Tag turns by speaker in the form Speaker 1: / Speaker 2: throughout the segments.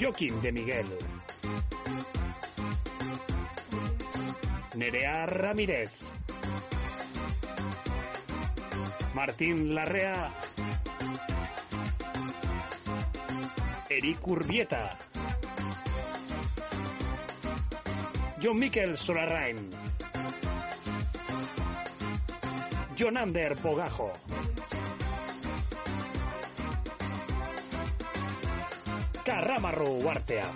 Speaker 1: Joaquín de Miguel. Nerea Ramírez. Martín Larrea. Eric Urbieta. John Miquel Solarrain. John Ander Pogajo. Carramarro Huartea.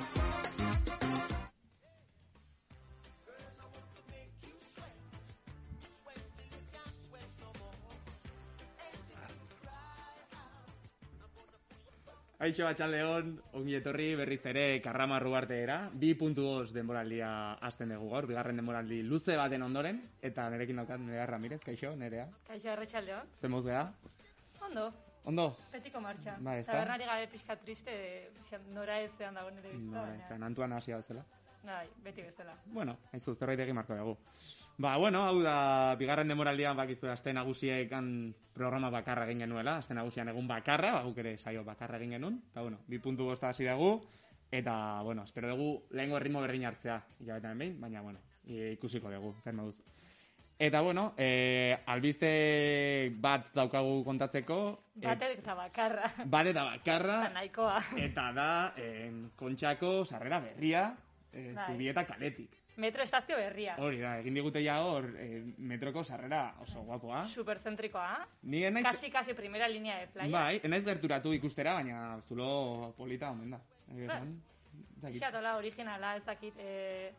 Speaker 2: Aixo León, ongi etorri berriz ere karrama ruarteera, 2.2 denboraldia azten dugu gaur, bigarren denboraldi luze baten ondoren, eta nerekin daukat nerea Ramirez, kaixo, nerea.
Speaker 3: Kaixo, arratsaldeon.
Speaker 2: Zemoz geha?
Speaker 3: Ondo,
Speaker 2: Ondo?
Speaker 3: betiko martxa.
Speaker 2: Ba, ezta?
Speaker 3: Tabernari gabe pixka triste, pixka nora ezean dago nire bizitza.
Speaker 2: Ba,
Speaker 3: baina-
Speaker 2: eta nantuan hasia bezala.
Speaker 3: Bai, beti bezala.
Speaker 2: Bueno, hain zu, zerbait egin marko dugu. Ba, bueno, hau da, bigarren denboraldian bakizu aste nagusiek han programa bakarra egin genuela, aste nagusian egun bakarra, ba, guk ere saio bakarra egin genuen, eta bueno, bi puntu bosta hasi dugu, eta, bueno, espero dugu lehengo erritmo berrin hartzea, hilabetan behin, baina, bueno, i- ikusiko dugu, zer moduz. Eta, bueno, e, albiste bat daukagu kontatzeko, e,
Speaker 3: Bat eta bakarra.
Speaker 2: bat eta
Speaker 3: Eta
Speaker 2: bakarra,
Speaker 3: nahikoa.
Speaker 2: eta da, em, kontxako sarrera berria, e,
Speaker 3: Bai.
Speaker 2: zubieta kaletik.
Speaker 3: Metro estazio berria.
Speaker 2: Hori da, egin digute ja hor eh, metroko sarrera oso guapoa.
Speaker 3: Superzentrikoa.
Speaker 2: Ni ez naiz...
Speaker 3: Kasi, kasi primera linea de playa.
Speaker 2: Bai, ez naiz gerturatu ikustera, baina zulo polita omen da. Egia esan, ez dakit.
Speaker 3: Fiatola originala, ez dakit, eh,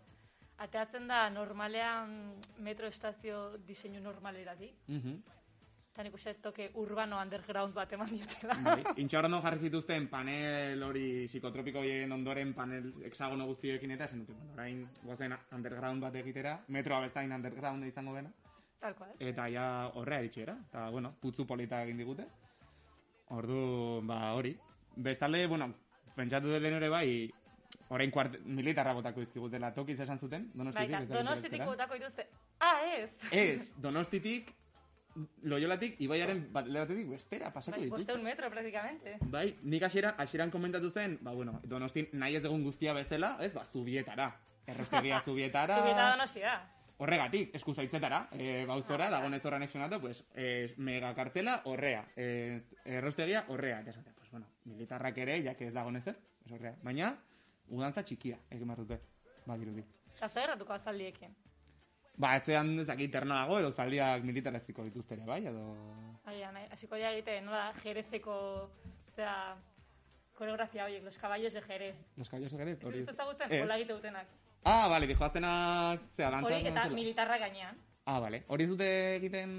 Speaker 3: ateatzen da normalean metro estazio diseinu normaleratik.
Speaker 2: Mhm.
Speaker 3: Eta nik uste dut toke urbano underground bat eman diotela.
Speaker 2: Bai, Intxaur ondo jarri zituzten panel hori psikotropiko horien ondoren panel hexagono guztioekin eta esan dute, bueno, orain guazen underground bat egitera, metroa bezain underground izango dena.
Speaker 3: Tal cual.
Speaker 2: Eta ja horrea eritxera, eta, bueno, putzu polita egin digute. Ordu, ba, hori. Bestalde, bueno, pentsatu dut lehen ere bai, orain kuart militarra botako izkigutela tokiz esan zuten, donostitik.
Speaker 3: Baita,
Speaker 2: ez dakit
Speaker 3: donostitik
Speaker 2: zertzera.
Speaker 3: Bai, botako dituzte. Ah, ez!
Speaker 2: Ez, donostitik, loiolatik, ibaiaren bat, lehen batetik bestera pasako
Speaker 3: Bai,
Speaker 2: dituzte.
Speaker 3: bosteun metro, praktikamente.
Speaker 2: Bai, nik hasieran hasieran komentatu zen, ba, bueno, donostin nahi ez dugun guztia bezala, ez, ba, zubietara. Errostegia zubietara.
Speaker 3: Zubieta donosti da.
Speaker 2: Horregatik, eskuzaitzetara, e,
Speaker 3: Ah,
Speaker 2: bauzora, dagonez horra anexionatu, pues, e, megakartzela horrea, e, errostegia horrea, eta esatea, pues, bueno, militarrak ere, jak ez dagonez zer, ez horrea. Baina, udantza txikia, egin behar dute, bakirudi.
Speaker 3: Eta zer gertatuko azaldiekin.
Speaker 2: Ba, etzean ez dakit terna dago, edo zaldiak militaraziko dituzte ere, bai, edo...
Speaker 3: Agian, nahi- hasiko dira egiten, nola, jerezeko, zera, koreografia horiek, los caballos de jerez.
Speaker 2: Los caballos ere,
Speaker 3: Ez
Speaker 2: hori...
Speaker 3: dut ezagutzen,
Speaker 2: Ez.
Speaker 3: hola egite dutenak.
Speaker 2: Ah, bale, dijoazenak, zea, dantza...
Speaker 3: Hori eta
Speaker 2: dantza-
Speaker 3: militarra gainean.
Speaker 2: Ah, bale, hori ez dute egiten...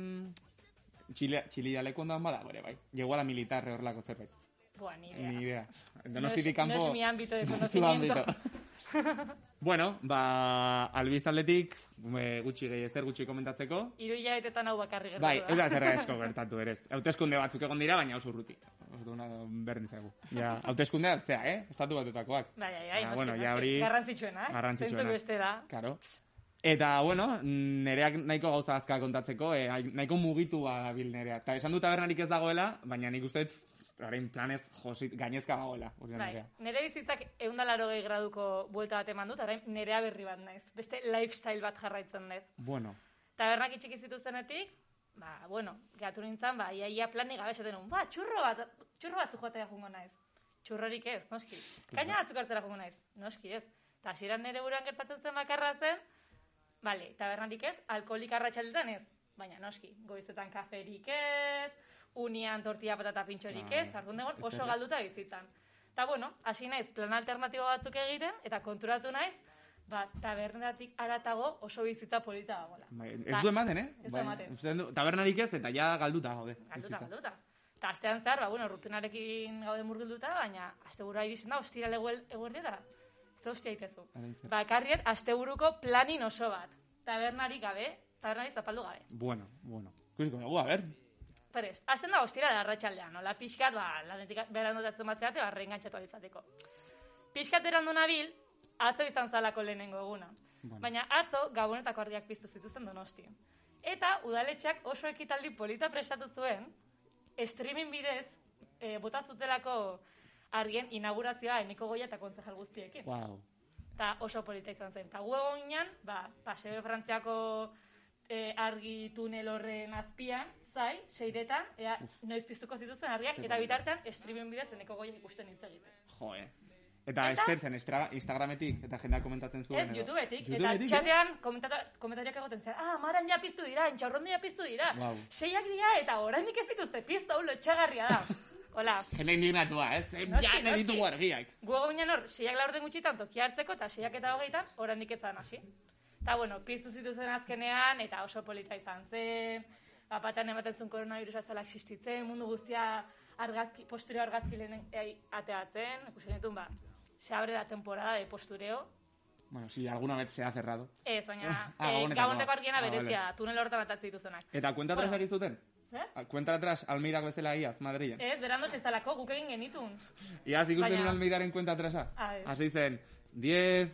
Speaker 2: Txile, txilialeko ondoan bada, bere, bai. Llego a la militar horrelako zerbait.
Speaker 3: Buah, ni idea.
Speaker 2: Ni idea.
Speaker 3: No
Speaker 2: Donostitik
Speaker 3: es-
Speaker 2: kanpo...
Speaker 3: No es mi ámbito de
Speaker 2: No es tu
Speaker 3: conocimiento.
Speaker 2: ámbito. bueno, ba, albiztaletik e, gutxi gehi ezer gutxi komentatzeko.
Speaker 3: Hiru hilabetetan hau bakarrik
Speaker 2: Bai,
Speaker 3: gertatu
Speaker 2: ez
Speaker 3: da.
Speaker 2: da zerra esko gertatu ere. Hautezkunde batzuk egon dira, baina oso urruti. Orduan berdin zaigu. Ja, hautezkundea zea, eh? Estatu batutakoak.
Speaker 3: Bai, bai, bai,
Speaker 2: Ah,
Speaker 3: noski,
Speaker 2: bueno, ja
Speaker 3: noski.
Speaker 2: hori-
Speaker 3: Garrantzitsuena, eh?
Speaker 2: Garrantzitsuena.
Speaker 3: Zentzu bestela.
Speaker 2: Karo. Eta, bueno, nereak nahiko gauza azka kontatzeko, eh, nahiko mugitua dabil nerea. Eta esan du tabernarik ez dagoela, baina nik uste dut, orain planez josit, gainezka dagoela. Urian
Speaker 3: Bai,
Speaker 2: nerea.
Speaker 3: nire bizitzak eundalaro gehi graduko buelta bat eman dut, orain nerea berri bat naiz. Beste lifestyle bat jarraitzen dut.
Speaker 2: Bueno,
Speaker 3: Tabernak itxik zituztenetik, ba, bueno, gatu nintzen, ba, ia, ia planik gabe esaten nun, ba, txurro bat, txurro batzuk joatea jungo naiz. Txurrorik ez, noski. Kaina batzuk hartzera jungo naiz, noski ez. Eta hasieran nire buruan gertatzen zen bakarra zen, bale, tabernarik ez, alkoholik arratsaldetan ez. Baina noski, goizetan kaferik ez, unian tortilla patata pintxorik ez,
Speaker 2: Ah,
Speaker 3: jardun egon
Speaker 2: ez
Speaker 3: oso
Speaker 2: erre.
Speaker 3: galduta bizitzan. Eta bueno, hasi naiz plan alternatibo batzuk egiten, eta konturatu naiz, ba, tabernatik aratago oso bizitza polita dagoela.
Speaker 2: bai, ez
Speaker 3: Ba,
Speaker 2: du ematen, eh?
Speaker 3: ez du
Speaker 2: Bai,
Speaker 3: ematen.
Speaker 2: uste du- Tabernarik ez, eta ja galduta, gaude.
Speaker 3: Galduta,
Speaker 2: bizitza.
Speaker 3: galduta. Eta astean zehar, ba, bueno, rutinarekin gaude murgilduta, baina asteburu iristen da, ostira eguerdi eta ze hostia itezu.
Speaker 2: Orain zer.
Speaker 3: Bakarriet, asteburuko planin oso bat. Tabernarik gabe, tabernarik zapaldu gabe.
Speaker 2: Bueno, bueno. Ikusiko dugu, a ber.
Speaker 3: Perez, hasten da ostira da arratsaldean, nola pixkat, ba, lanetik berandu datzen bat zeate, ba, reingantxatu alizateko. Pixkat berandu nabil, atzo izan zalako lehenengo eguna.
Speaker 2: Bueno.
Speaker 3: Baina atzo, gabonetako ardiak piztu zituzten donosti. Eta udaletxeak oso ekitaldi polita prestatu zuen, streaming bidez, e, bota zutelako argien inaugurazioa eneko goia eta kontzejal guztiekin.
Speaker 2: Wow.
Speaker 3: Eta oso polita izan zen. Eta gu egon ginen, ba, Paseo de Frantziako e, argi tunel horren azpian, zai, seiretan, ea, noiz piztuko zituzen argiak,
Speaker 2: Ze
Speaker 3: eta
Speaker 2: polita.
Speaker 3: bitartean streaming bidez eneko goia ikusten hitz egiten.
Speaker 2: Jo, eh. Eta,
Speaker 3: Eta-
Speaker 2: estertzen estra- Instagrametik eta jendea komentatzen zuen.
Speaker 3: Ez,
Speaker 2: edo.
Speaker 3: YouTubetik. Eta
Speaker 2: YouTubetik, eh?
Speaker 3: txatean komentatu- komentariak egoten zen, ah, maran ja piztu dira, entxaurron ja piztu dira,
Speaker 2: Wau.
Speaker 3: seiak dira eta oraindik ez dituzte piztu, hau lotxagarria da. Hola,
Speaker 2: eh? Jende indignatua, ez?
Speaker 3: Noski,
Speaker 2: Ja, ne
Speaker 3: noski.
Speaker 2: ditugu argiak.
Speaker 3: gu ginen hor, seiak laurden gutxitan tokia hartzeko eta seiak eta hogeitan oraindik ez zan hasi. Eta bueno, piztu zituzen azkenean eta oso polita izan zen, bapatean ematen zuen koronavirusa zela existitzen, mundu guztia argazki, postureo argazkilenen ateatzen, ikusi genituen ba, se abre la temporada de postureo,
Speaker 2: Bueno, si alguna vez se ha cerrado.
Speaker 3: Ez, baina
Speaker 2: Ah,
Speaker 3: eh,
Speaker 2: gabonetako.
Speaker 3: gabonetako argiena
Speaker 2: Ah, vale.
Speaker 3: berezia da, tunel horretan atatzi dituzenak.
Speaker 2: Eta kuenta atrás
Speaker 3: Bueno.
Speaker 2: egin zuten?
Speaker 3: Zer?
Speaker 2: A- Kuenta Ah, atrás, Almeidak bezala iaz, Madrilen.
Speaker 3: Ez, berandos ez dalako, guk egin genitun.
Speaker 2: Iaz ikusten
Speaker 3: Eh, Baina-
Speaker 2: un Almeidaren kuenta atrasa.
Speaker 3: A ver.
Speaker 2: Hasi zen, 10,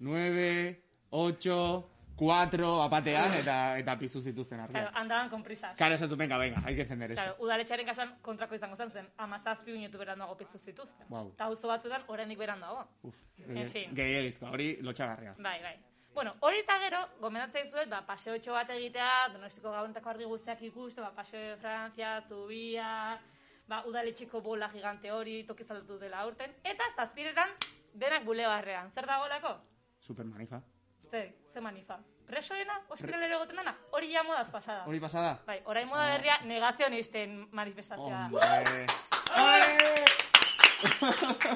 Speaker 2: 9, 8, 4, apatean, eta, eta piztu zituzten
Speaker 3: Claro,
Speaker 2: argiak.
Speaker 3: andaban con prisa.
Speaker 2: Kara esatu, venga, venga, hay que encender esto.
Speaker 3: Claro, udaletxearen kasuan kontrako izango zen zen, amazazpi unetu beranduago piztu zituzten.
Speaker 2: Guau.
Speaker 3: Eta auzo batzuetan oraindik beranduago.
Speaker 2: Uf,
Speaker 3: En fin.
Speaker 2: gehiagizko, hori lotxagarria.
Speaker 3: Bai, bai. Bueno, hori eta gero, gomendatzea izuet, ba, paseotxo bat egitea, donostiko gabonetako argi guztiak ikustu, ba, paseo de Francia, zubia, ba, udaletxeko bola gigante hori, tokizaldatu dela aurten, eta zazpiretan denak bulebarrean. Zer dagolako?
Speaker 2: Super manifa.
Speaker 3: Zer, ze manifa. Presoena, ostiralero egoten dana, hori ja modaz pasada.
Speaker 2: Hori pasada?
Speaker 3: Bai, orain moda berria negazionisten manifestazioa. da.
Speaker 2: Hombre. Ole!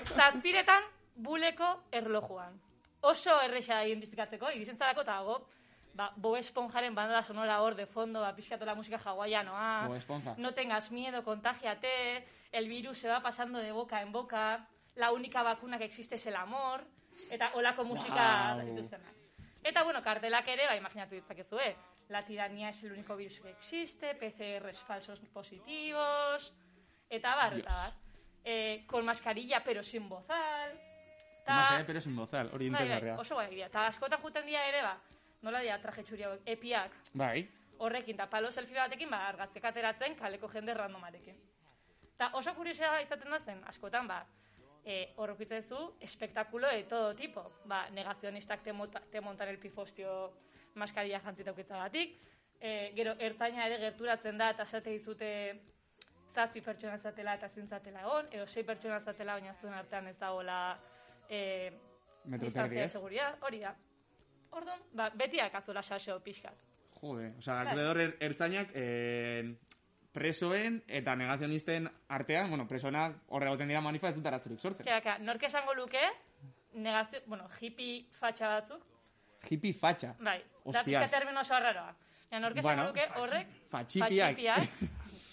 Speaker 3: Zazpiretan, buleko erlojuan. Oso erresa da identifikatzeko, irisen zarako eta dago, ba, Bob Esponjaren banda sonora hor de fondo, ba, pixkatola musika hawaianoa.
Speaker 2: Bob Esponja.
Speaker 3: No tengas miedo, contagiate, el virus se va pasando de boca en boca, la única vacuna que existe es el amor, eta olako musika
Speaker 2: Guau.
Speaker 3: dituztenak. Eta, bueno, kartelak ere, ba, imaginatu ditzakezue, la tiranía es el único virus que existe, PCRs falsos positivos, eta bar,
Speaker 2: Dios.
Speaker 3: eta bar. Eh, con mascarilla pero sin bozal. eta-
Speaker 2: Más, eh, pero sin bozal, hori
Speaker 3: Bai, bai,
Speaker 2: interesgarria.
Speaker 3: oso guai dira. Eta askotan juten dira ere, ba, nola dira traje txuri hauek, epiak,
Speaker 2: Bai.
Speaker 3: horrekin, eta palo selfie batekin, ba, argatzek ateratzen kaleko jende randomarekin. Eta oso kuriosia izaten da zen, askotan, ba, e, horrokitzen zu, espektakulo de todo tipo. Ba, negazionistak te, mota, te montan el pifostio maskarilla jantzita batik, e, gero ertzaina ere gerturatzen da, eta esate dizute zazpi pertsona zatela eta zintzatela egon, edo sei pertsona zatela, baina zuen artean ez dagoela e,
Speaker 2: Metro
Speaker 3: distantzia
Speaker 2: terdi,
Speaker 3: de
Speaker 2: ez?
Speaker 3: seguridad, hori da. Orduan, ba, beti akazola saseo pixkat.
Speaker 2: Jode, osea, akredor er, ertzainak eh, presoen eta negazionisten artean, bueno, presoenak horre goten dira manifa ez dut aratzurik sortzen.
Speaker 3: Kera, kera, nork esango luke, negazio, bueno, hippie fatxa batzuk,
Speaker 2: Hippie fatxa.
Speaker 3: bai, da
Speaker 2: Hostias.
Speaker 3: pizka termino oso arraroa. Ja, nork esango
Speaker 2: Bueno,
Speaker 3: luke, horrek,
Speaker 2: fatxipiak.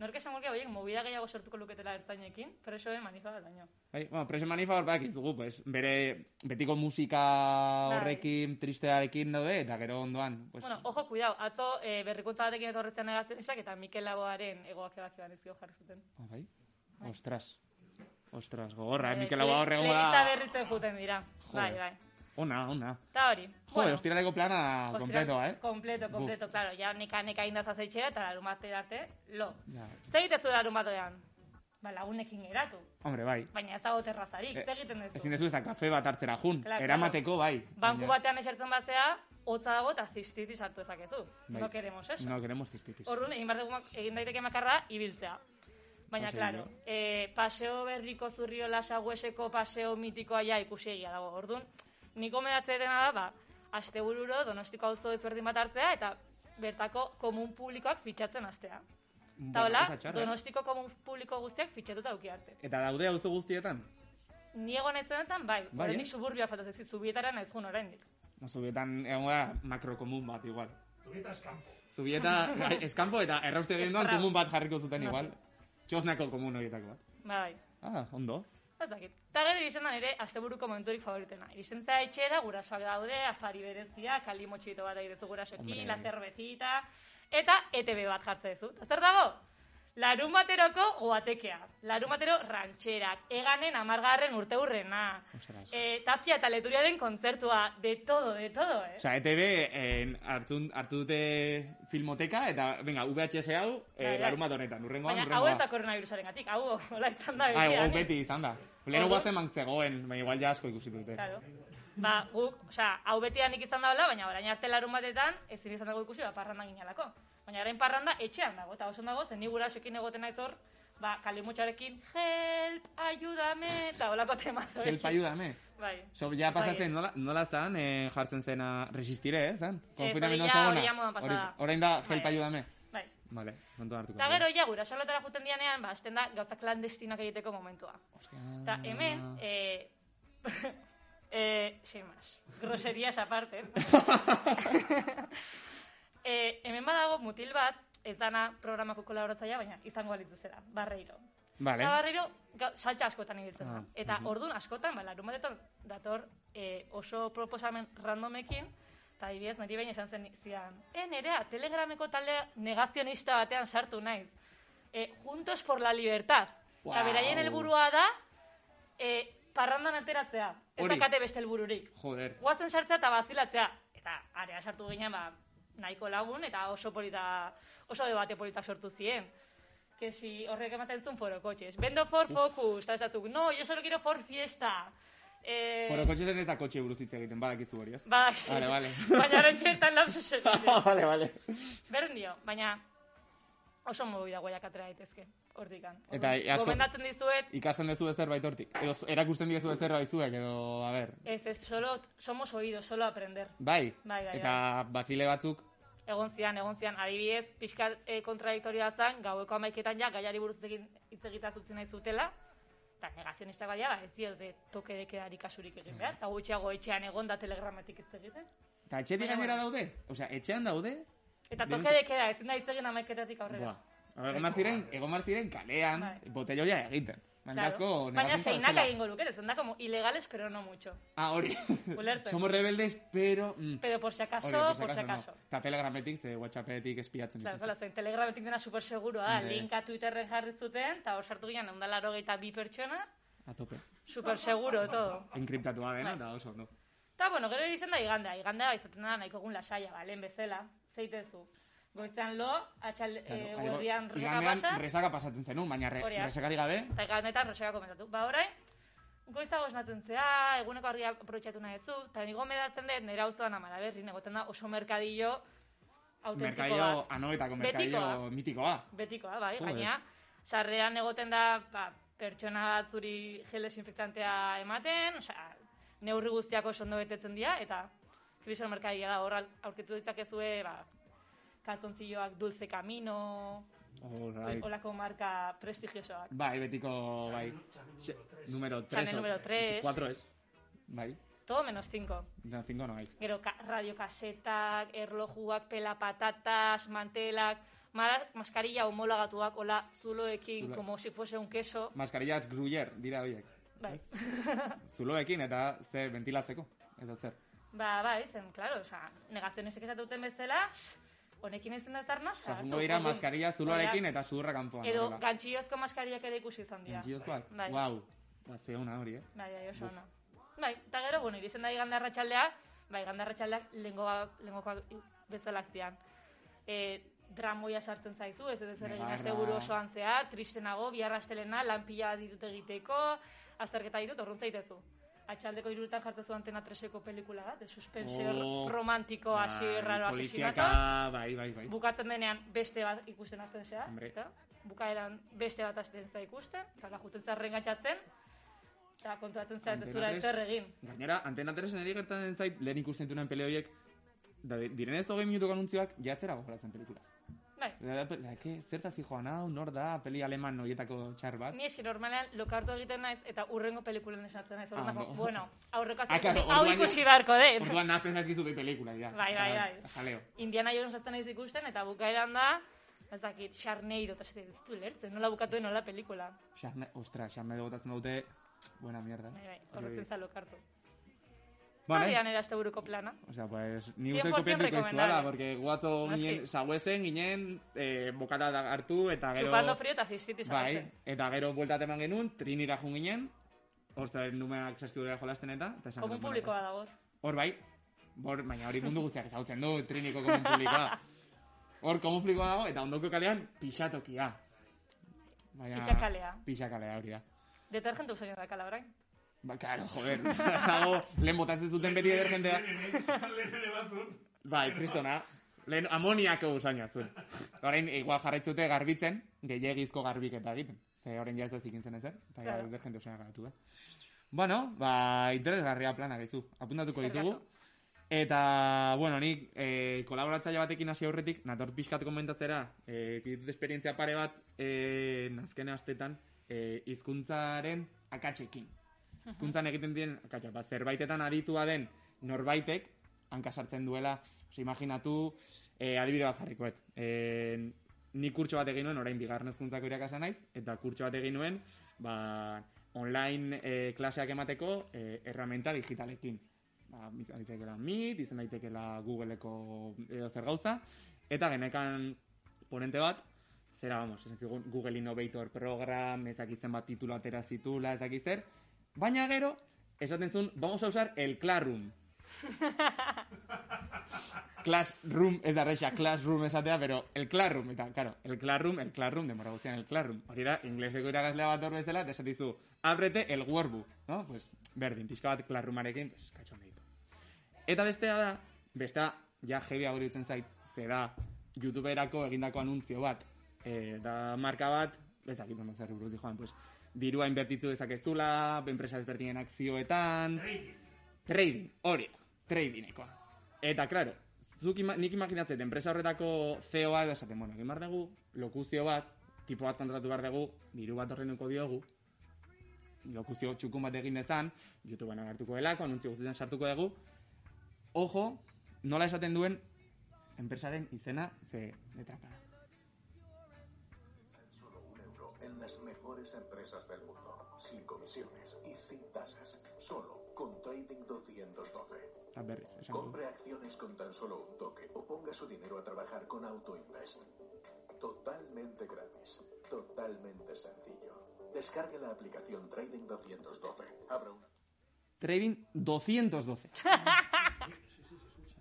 Speaker 3: nork esango luke, horiek, movida gehiago sortuko luketela ertzainekin, presoen manifa bat daño.
Speaker 2: Bai, bueno, presoen manifa hor badakiz dugu, pues, bere betiko musika
Speaker 3: Bai.
Speaker 2: horrekin, tristearekin daude, eta gero ondoan, pues,
Speaker 3: Bueno, ojo, cuidao, atzo eh, berrikuntza batekin etorretzen negazionistak eta Mikel Laboaren egoak ebaki ban ezkio jarri zuten.
Speaker 2: ah, bai? ostras, ostras, gogorra, eh,
Speaker 3: Eh,
Speaker 2: Mikel Agua horre
Speaker 3: le-
Speaker 2: gora-
Speaker 3: Lehenista berritzen juten dira, bai,
Speaker 2: Joder.
Speaker 3: bai.
Speaker 2: Ona, ona.
Speaker 3: Eta hori.
Speaker 2: Jode, ostiraleko plana
Speaker 3: Ostras,
Speaker 2: kompletoa, eh?
Speaker 3: Kompleto, kompleto, claro. Ja neka neka inda zazeitxera eta larun batera arte, lo.
Speaker 2: Ja.
Speaker 3: Zer egiten zu larun batean? Ba, lagunekin geratu.
Speaker 2: Hombre, bai.
Speaker 3: Baina ez dago terrazarik,
Speaker 2: Eh,
Speaker 3: zer egiten duzu?
Speaker 2: Ezin dezu ez da kafe bat hartzera jun.
Speaker 3: Claro,
Speaker 2: Eramateko, bai.
Speaker 3: Banku
Speaker 2: Baina-
Speaker 3: batean esertzen bazea, hotza dago eta ziztiti sartu ezakezu.
Speaker 2: Bai.
Speaker 3: No queremos eso.
Speaker 2: No queremos cistitis.
Speaker 3: Orduan, egin behar dugu mak- egin daiteke makarra, ibiltzea. Baina,
Speaker 2: Paseo
Speaker 3: claro, eh, paseo berriko zurrio lasagueseko paseo mitikoa ja ikusi egia dago. Orduan, niko medatzea dena da, ba, astebururo donostiko auzo ezberdin bat hartzea eta bertako komun publikoak fitxatzen astea. Eta
Speaker 2: Bueno,
Speaker 3: hola,
Speaker 2: ez da txarra, eh?
Speaker 3: donostiko komun publiko guztiak fitxatuta auki arte.
Speaker 2: Eta daude auzo guztietan?
Speaker 3: Niego nahizenetan, bai,
Speaker 2: Bai,
Speaker 3: bai
Speaker 2: eh?
Speaker 3: oraindik suburbia falta zaizu, zubietara nahiz jun oraindik.
Speaker 2: No, zubietan egon da makrokomun bat, igual.
Speaker 1: Zubietaz kanpo.
Speaker 2: Zubieta, bai, eskampo eta errauste egin duan
Speaker 3: Esparrago.
Speaker 2: komun bat jarriko zuten
Speaker 3: No
Speaker 2: igual. Txosnako komun horietako bat.
Speaker 3: Bai,
Speaker 2: Ah, ondo.
Speaker 3: Ez dakit. Eta gero iristen da nire asteburuko momenturik favoritena. Iristen zara etxera, gurasoak daude, afari berezia, kali motxito bat egitezu
Speaker 2: Hombre.
Speaker 3: E gurasoekin, la zerbezita, eta ETB bat jartzen duzu. Eta zer dago? Larun bateroko oatekea, larun batero rantxerak, eganen amargarren urte hurrena,
Speaker 2: Ostras.
Speaker 3: eh, tapia eta leturiaren kontzertua, de todo, de todo, eh?
Speaker 2: Osa, ETB E en, hartu, hartu dute filmoteka, eta, venga, VHS hau,
Speaker 3: Bai,
Speaker 2: eh,
Speaker 3: bai.
Speaker 2: larun bat honetan, urrengoan,
Speaker 3: Baina hau ez da koronavirusaren gatik, hau hola izan da
Speaker 2: Ai,
Speaker 3: begian,
Speaker 2: hau
Speaker 3: eh?
Speaker 2: Bai, beti izan da. Lehen
Speaker 3: Orduan-
Speaker 2: guazen mantzegoen, baina igual ja asko ikusi dute.
Speaker 3: Claro. Ba, guk, osea, hau betidanik izan daola, baina orain arte larun batetan ezin izan dago ikusi, ba, parranda ginalako. Baina orain parranda etxean dago, eta oso ondo dago, zen ni gurasoekin egoten naiz hor, ba, kalimutxarekin, help, ayúdame, eta holako temazo.
Speaker 2: Help, ayúdame.
Speaker 3: Bai.
Speaker 2: So, ja
Speaker 3: Bai,
Speaker 2: pasatzen, nola, nola zan, eh, jartzen zena resistire, eh, zan?
Speaker 3: hori
Speaker 2: Konfinamendu
Speaker 3: ja-
Speaker 2: zegoena.
Speaker 3: hori ja modan pasada.
Speaker 2: Hori- Orain da, help,
Speaker 3: Bai.
Speaker 2: ayúdame.
Speaker 3: Bai.
Speaker 2: Vale, kontu hartuko.
Speaker 3: Eta gero, ja, gurasolotara juten dianean, ba, hasten da gauza klandestinak egiteko momentua. Eta hemen,
Speaker 2: Ah.
Speaker 3: eh, eh, sin más, groserias aparte. eh, hemen badago mutil bat, ez dana programako kolaboratzaia, baina izango alitu zera, barreiro.
Speaker 2: Vale.
Speaker 3: Eta barreiro, ga- saltsa askotan ibiltzen da.
Speaker 2: Ah,
Speaker 3: Eta ordun askotan, ba, larun batetan dator eh, oso proposamen randomekin, eta adibidez, niri baina esan zen zidan, e, nerea, telegrameko talde negazionista batean sartu naiz. Eh, juntos por la libertad. Eta
Speaker 2: Wow.
Speaker 3: beraien helburua da, eh, parrandan ateratzea. Ez
Speaker 2: Hori.
Speaker 3: dakate beste helbururik.
Speaker 2: Joder.
Speaker 3: Guazen sartzea eta bazilatzea. Eta area sartu ginen, ba, nahiko lagun, eta oso polita, oso debate polita sortu ziren. Que si horrek ematen zuen foro kotxes. Vendo for focus, eta ez datzuk, no, yo solo quiero for fiesta. Eh,
Speaker 2: Foro kotxe zen eta kotxe buruz hitz egiten, badakizu hori, ez?
Speaker 3: Bai,
Speaker 2: Vale, vale.
Speaker 3: baina rentxetan lapsus egiten.
Speaker 2: Ah, vale, vale.
Speaker 3: Berdin dio, baina oso modu da guaiak atera daitezke, hortikan.
Speaker 2: Eta asko-
Speaker 3: Gomendatzen dizuet,
Speaker 2: Ikasten duzu ezerbait hortik. Edo erakusten diezu ezerbait zuek, edo, a ber.
Speaker 3: ez ez, solo, somos oídos, solo aprender.
Speaker 2: Bai.
Speaker 3: Bai, bai,
Speaker 2: Eta bazile batzuk,
Speaker 3: Egon zian, egon zian, adibidez, pixka e, kontradiktorioa zen, gaueko amaiketan ja, gaiari buruz egin hitz egitaz utzi nahi zutela, eta negazionista badia, ba, ez diote toke dekedari kasurik egin behar, eta gutxiago etxean egon da telegramatik hitz egiten.
Speaker 2: Eta etxetik
Speaker 3: Baina,
Speaker 2: gainera
Speaker 3: bueno.
Speaker 2: daude? Osea, etxean daude?
Speaker 3: Eta
Speaker 2: Bien.
Speaker 3: toke dekeda, ezin da hitz egin amaiketatik aurrera.
Speaker 2: Buah. Egon behar ziren, egon behar ziren kalean,
Speaker 3: Bai.
Speaker 2: botelloia egiten.
Speaker 3: Claro.
Speaker 2: Mankazko
Speaker 3: Baina
Speaker 2: negazioa
Speaker 3: seinak
Speaker 2: bezala.
Speaker 3: egingo luke, zen da como ilegales, pero no mucho.
Speaker 2: Ah, hori.
Speaker 3: Ulertzen.
Speaker 2: Somos rebeldes, pero... Mm.
Speaker 3: Pero por si acaso,
Speaker 2: Hori,
Speaker 3: por si acaso.
Speaker 2: no. Eta telegrametik, ze whatsappetik espiatzen
Speaker 3: Claro,
Speaker 2: dituzte.
Speaker 3: claro, zein telegrametik dena super seguro da,
Speaker 2: Bai.
Speaker 3: linka Twitterren jarri zuten, eta hor sartu ginen, egun da laro bi pertsona,
Speaker 2: A tope.
Speaker 3: super seguro, todo.
Speaker 2: Enkriptatua
Speaker 3: Bai.
Speaker 2: dena, eta oso, no.
Speaker 3: Eta, bueno, gero ere izan da igandea, igandea ba izaten da nahiko egun lasaia, ba, lehen bezala, zeitezu. Goizean lo, atxal, eh,
Speaker 2: Claro,
Speaker 3: guerdian
Speaker 2: algo-
Speaker 3: reka
Speaker 2: igandean
Speaker 3: pasa,
Speaker 2: resaka pasatzen zenun, baina re,
Speaker 3: Hori da.
Speaker 2: resakari gabe...
Speaker 3: eta igandetan roseka komentatu. Ba, orain, goizago esnatzen zea, eguneko argia aprobetxatu nahi zu, eta nigo medatzen dut, nire auzoan amara berri, negoten da oso merkadillo autentiko
Speaker 2: Merkadillo,
Speaker 3: bat.
Speaker 2: anoetako
Speaker 3: Betikoa.
Speaker 2: merkadillo mitikoa.
Speaker 3: Betikoa, bai,
Speaker 2: Joder.
Speaker 3: gaina, sarrean egoten da, ba, pertsona bat zuri gel desinfektantea ematen, osea, neurri guztiako oso ondo betetzen dira, eta krison merkadia da, hor al- aurkitu ditzakezue, ba, kaltzontzilloak Dulce Camino,
Speaker 2: Alright.
Speaker 3: olako marka prestigiosoak.
Speaker 2: Bai, betiko, bai. Número 3.
Speaker 3: Channel número tres.
Speaker 2: 4 es. Bai.
Speaker 3: Todo menos 5.
Speaker 2: No, 5 no hay.
Speaker 3: Gero, ka, radiokasetak, erlojuak, pelapatatas, mantelak, mara, maskarilla homologatuak, hola, zuloekin,
Speaker 2: Zulo.
Speaker 3: como si fuese un queso.
Speaker 2: Maskarillats gruyer, dira horiek.
Speaker 3: Bai.
Speaker 2: Zuloekin eta zer ventilatzeko. Eta zer.
Speaker 3: Ba, bai, zen, klaro, oza, negazionistek esatu duten bezala, honekin ezin da zarna,
Speaker 2: Osa, jungo dira maskarilla zuloarekin eta zuhurra kanpoan. eh?
Speaker 3: Edo gantxillozko maskariak ere ikusi izan dira.
Speaker 2: Gantziozkoak.
Speaker 3: Bai.
Speaker 2: Wow. Bazte hona hori, eh?
Speaker 3: Bai, bai, oso
Speaker 2: Buf.
Speaker 3: ona. Bai, eta gero, bueno, irisen da igande arratsaldea, bai, igande arratsaldeak lengo, lengokoak bezalak zian. E, dramoia sartzen zaizu, ez ez zer egin
Speaker 2: Negarra.
Speaker 3: asteburu osoan zehar, tristenago, bihar astelena, lan pila bat ditut egiteko, azterketa ditut, orrun zaitezu. Atxaldeko irurutan jartzezu antena treseko pelikula bat, de suspense
Speaker 2: Oh.
Speaker 3: romantiko hasi
Speaker 2: Bai,
Speaker 3: raro
Speaker 2: poliziaka,
Speaker 3: asesinatos.
Speaker 2: Bai, bai, bai.
Speaker 3: Bukatzen denean beste bat ikusten azten zea,
Speaker 2: Hombre.
Speaker 3: ezta? Bukaeran beste bat azten zea ikusten, eta la juten zea rengatxatzen, eta kontuatzen zea ez
Speaker 2: Antena
Speaker 3: dezula
Speaker 2: tres.
Speaker 3: ezer egin.
Speaker 2: Gainera, antena 3 niri gertatzen zait, lehen ikusten tunan pele horiek, da, direnez hogei minutuko anuntzioak, jatzera gogoratzen pelikulaz.
Speaker 3: Bai,
Speaker 2: Da, da, da, ke, zertaz joan hau, nor da, peli aleman horietako txar bat.
Speaker 3: ni eski normalean lokartu egiten naiz, eta urrengo pelikulen esnatzen naiz, orduan
Speaker 2: Ah,
Speaker 3: dago,
Speaker 2: no.
Speaker 3: bueno, aurreko
Speaker 2: Ah, claro,
Speaker 3: hau
Speaker 2: orduan-
Speaker 3: ikusi beharko dut.
Speaker 2: Orduan nazten zaizkizu bi pelikula, ja.
Speaker 3: Bai, bai,
Speaker 2: Ah,
Speaker 3: bai.
Speaker 2: Jaleo.
Speaker 3: Indiana Jones azten naiz ikusten, eta bukaeran da, ez dakit, Sharnado, eta ez dut lertzen, nola bukatu nola pelikula.
Speaker 2: Xarne, ostra, xarne gotatzen dute, buena mierda.
Speaker 3: Bai, bai, horrezen za lokartu.
Speaker 2: Vale.
Speaker 3: Abian erasteburuko plana.
Speaker 2: O sea, pues, ni
Speaker 3: 100%
Speaker 2: uste kopiatuko ez duela,
Speaker 3: recomendable.
Speaker 2: porque guato
Speaker 3: Noski.
Speaker 2: ginen, zaguezen ginen, eh, bokata da hartu, eta gero...
Speaker 3: Chupando frío eta zistitis
Speaker 2: Bai, eta gero bueltat eman genuen, trinira jun ginen, hortza numeak saskibura jolasten eta... eta esan
Speaker 3: Komun
Speaker 2: genuen, bueno,
Speaker 3: publikoa dago. hor.
Speaker 2: Hor bai, bor, baina hori mundu guztiak ezagutzen du, triniko komun publikoa. Hor komun publikoa dago, eta ondoko kalean pixatokia. Baina,
Speaker 3: Pixakalea.
Speaker 2: Pixakalea hori da.
Speaker 3: Detergentu usaino dakala orain.
Speaker 2: Ba, claro, joder. Dago, lehen botatzen zuten beti edergentea.
Speaker 4: Lehen ere bazun.
Speaker 2: Bai, kristona. Lehen amoniako usaina zuen. Orain, igual jarraitzute garbitzen, gehiagizko garbiketa egiten. Ze orain jazta zikintzen ezer, eta ja,
Speaker 3: Claro.
Speaker 2: edergente usaina garatu da. Bueno, ba, interesgarria plana dizu. Apuntatuko
Speaker 3: Eskerrik
Speaker 2: ditugu. Eta, bueno, nik e, kolaboratzaile batekin hasi aurretik, nator pixkat komentatzera, e, ditut esperientzia pare bat, e, nazkene astetan, e, izkuntzaren akatsekin. Hizkuntzan egiten diren akatsak, bat zerbaitetan aditua den norbaitek, hankasartzen duela, oso, imaginatu, e, adibide bat jarrikoet. E, ni kurtso bat egin nuen, orain bigarren hezkuntzako irakasa naiz, eta kurtso bat egin nuen, ba, online e, klaseak emateko e, erramenta digitalekin ba, izan daitekeela Meet, izan daitekeela Googleeko edo zer gauza, eta genekan ponente bat, zera, vamos, esan zigun Google Innovator Program, ezakitzen bat titulo atera zitula, ezakitzen, baina gero, esaten zuen, vamos a usar el Classroom. classroom, ez da reixa, Classroom esatea, pero el Classroom, eta, claro, el Classroom, el Classroom, demora guztian el Classroom. Hori da, ingleseko iragaslea bat hor bezala, eta esaten dizu, ábrete el workbook, no? Pues, berdin, pixka bat Classroomarekin, pues, katxon ditu. Eta bestea da, bestea, ja jebia hori dutzen zait, ze da, YouTuberako egindako anuntzio bat. E, da marka bat, ez dakit non zer buruz joan, pues, dirua inbertitu dezakezula, enpresa ezberdinen akzioetan, trading, hori da, tradingekoa. Eta, claro, zuk ima, nik imaginatzen, enpresa horretako CEO-a edo esaten, bueno, egin behar dugu, lokuzio bat, tipo bat kontratu behar dugu, diru bat horrenuko diogu, lokuzio txukun bat egin dezan, YouTubean agertuko delako, anuntzio guztietan sartuko dugu, ojo, nola esaten duen enpresaren izena ze letrapa da.
Speaker 5: Tan solo un euro en las mejores empresas del mundo. Sin comisiones y sin tasas. Solo con Trading 212.
Speaker 2: Eta berriz, esan du.
Speaker 5: Compre acciones con tan solo un toque o ponga su dinero a trabajar con AutoInvest. Totalmente gratis. Totalmente sencillo. Descargue la aplicación Trading 212. Abra una.
Speaker 2: Trading 212.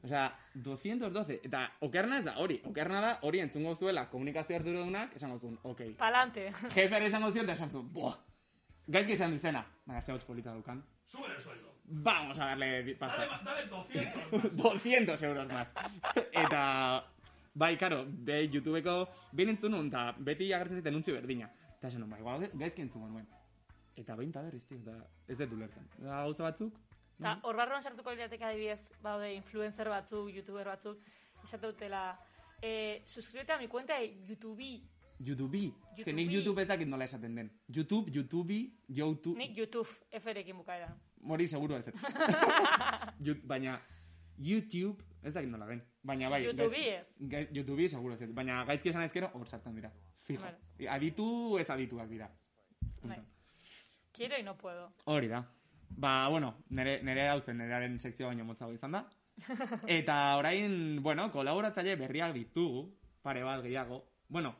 Speaker 2: Osea, 212. Eta okerna ez da hori. Okerna da hori entzungo zuela komunikazio arduradunak esango zuen, okei.
Speaker 3: Palante.
Speaker 2: Jefer esango zion eta esan zuen, boh. Gaizki esan du izena. Baina ze hotz polita dukan.
Speaker 4: Sube el sueldo.
Speaker 2: Vamos a darle di- pasta.
Speaker 4: Dale, ma- dale 200.
Speaker 2: 200 euros más. Eta, bai, karo, be, YouTubeko, behin entzun nun, eta beti agertzen ziten untzi berdina. Eta esan nun, ba, igual, gaizki entzun nuen. Eta behin eta berriz, tio, eta ez dut ulertzen. Da, gauza batzuk,
Speaker 3: Ta, hor barruan sartuko lirateke adibidez, baude influencer batzuk, youtuber batzuk, esate dutela, eh, suscríbete a mi cuenta de YouTube.
Speaker 2: YouTube. Ez que nik
Speaker 3: YouTubei.
Speaker 2: YouTube ez dakit nola esaten den. YouTube, YouTube, YouTube...
Speaker 3: Nik YouTube, F-rekin bukaera.
Speaker 2: Mori seguro ez ez. Yut- Baina, YouTube, ez dakit nola den. Baina bai...
Speaker 3: YouTube
Speaker 2: gaiz-
Speaker 3: ez.
Speaker 2: gai- YouTube seguro ez ez. Baina gaizki esan ezkero, hor sartzen dira. Fijo.
Speaker 3: Vale.
Speaker 2: Aditu ez adituak dira.
Speaker 3: Bai. Quiero y no puedo.
Speaker 2: Hori da. Ba, bueno, nere, nere dauzen, nerearen sekzio baino motzago izan da. Eta orain, bueno, kolaboratzaile berriak ditugu, pare bat gehiago. Bueno,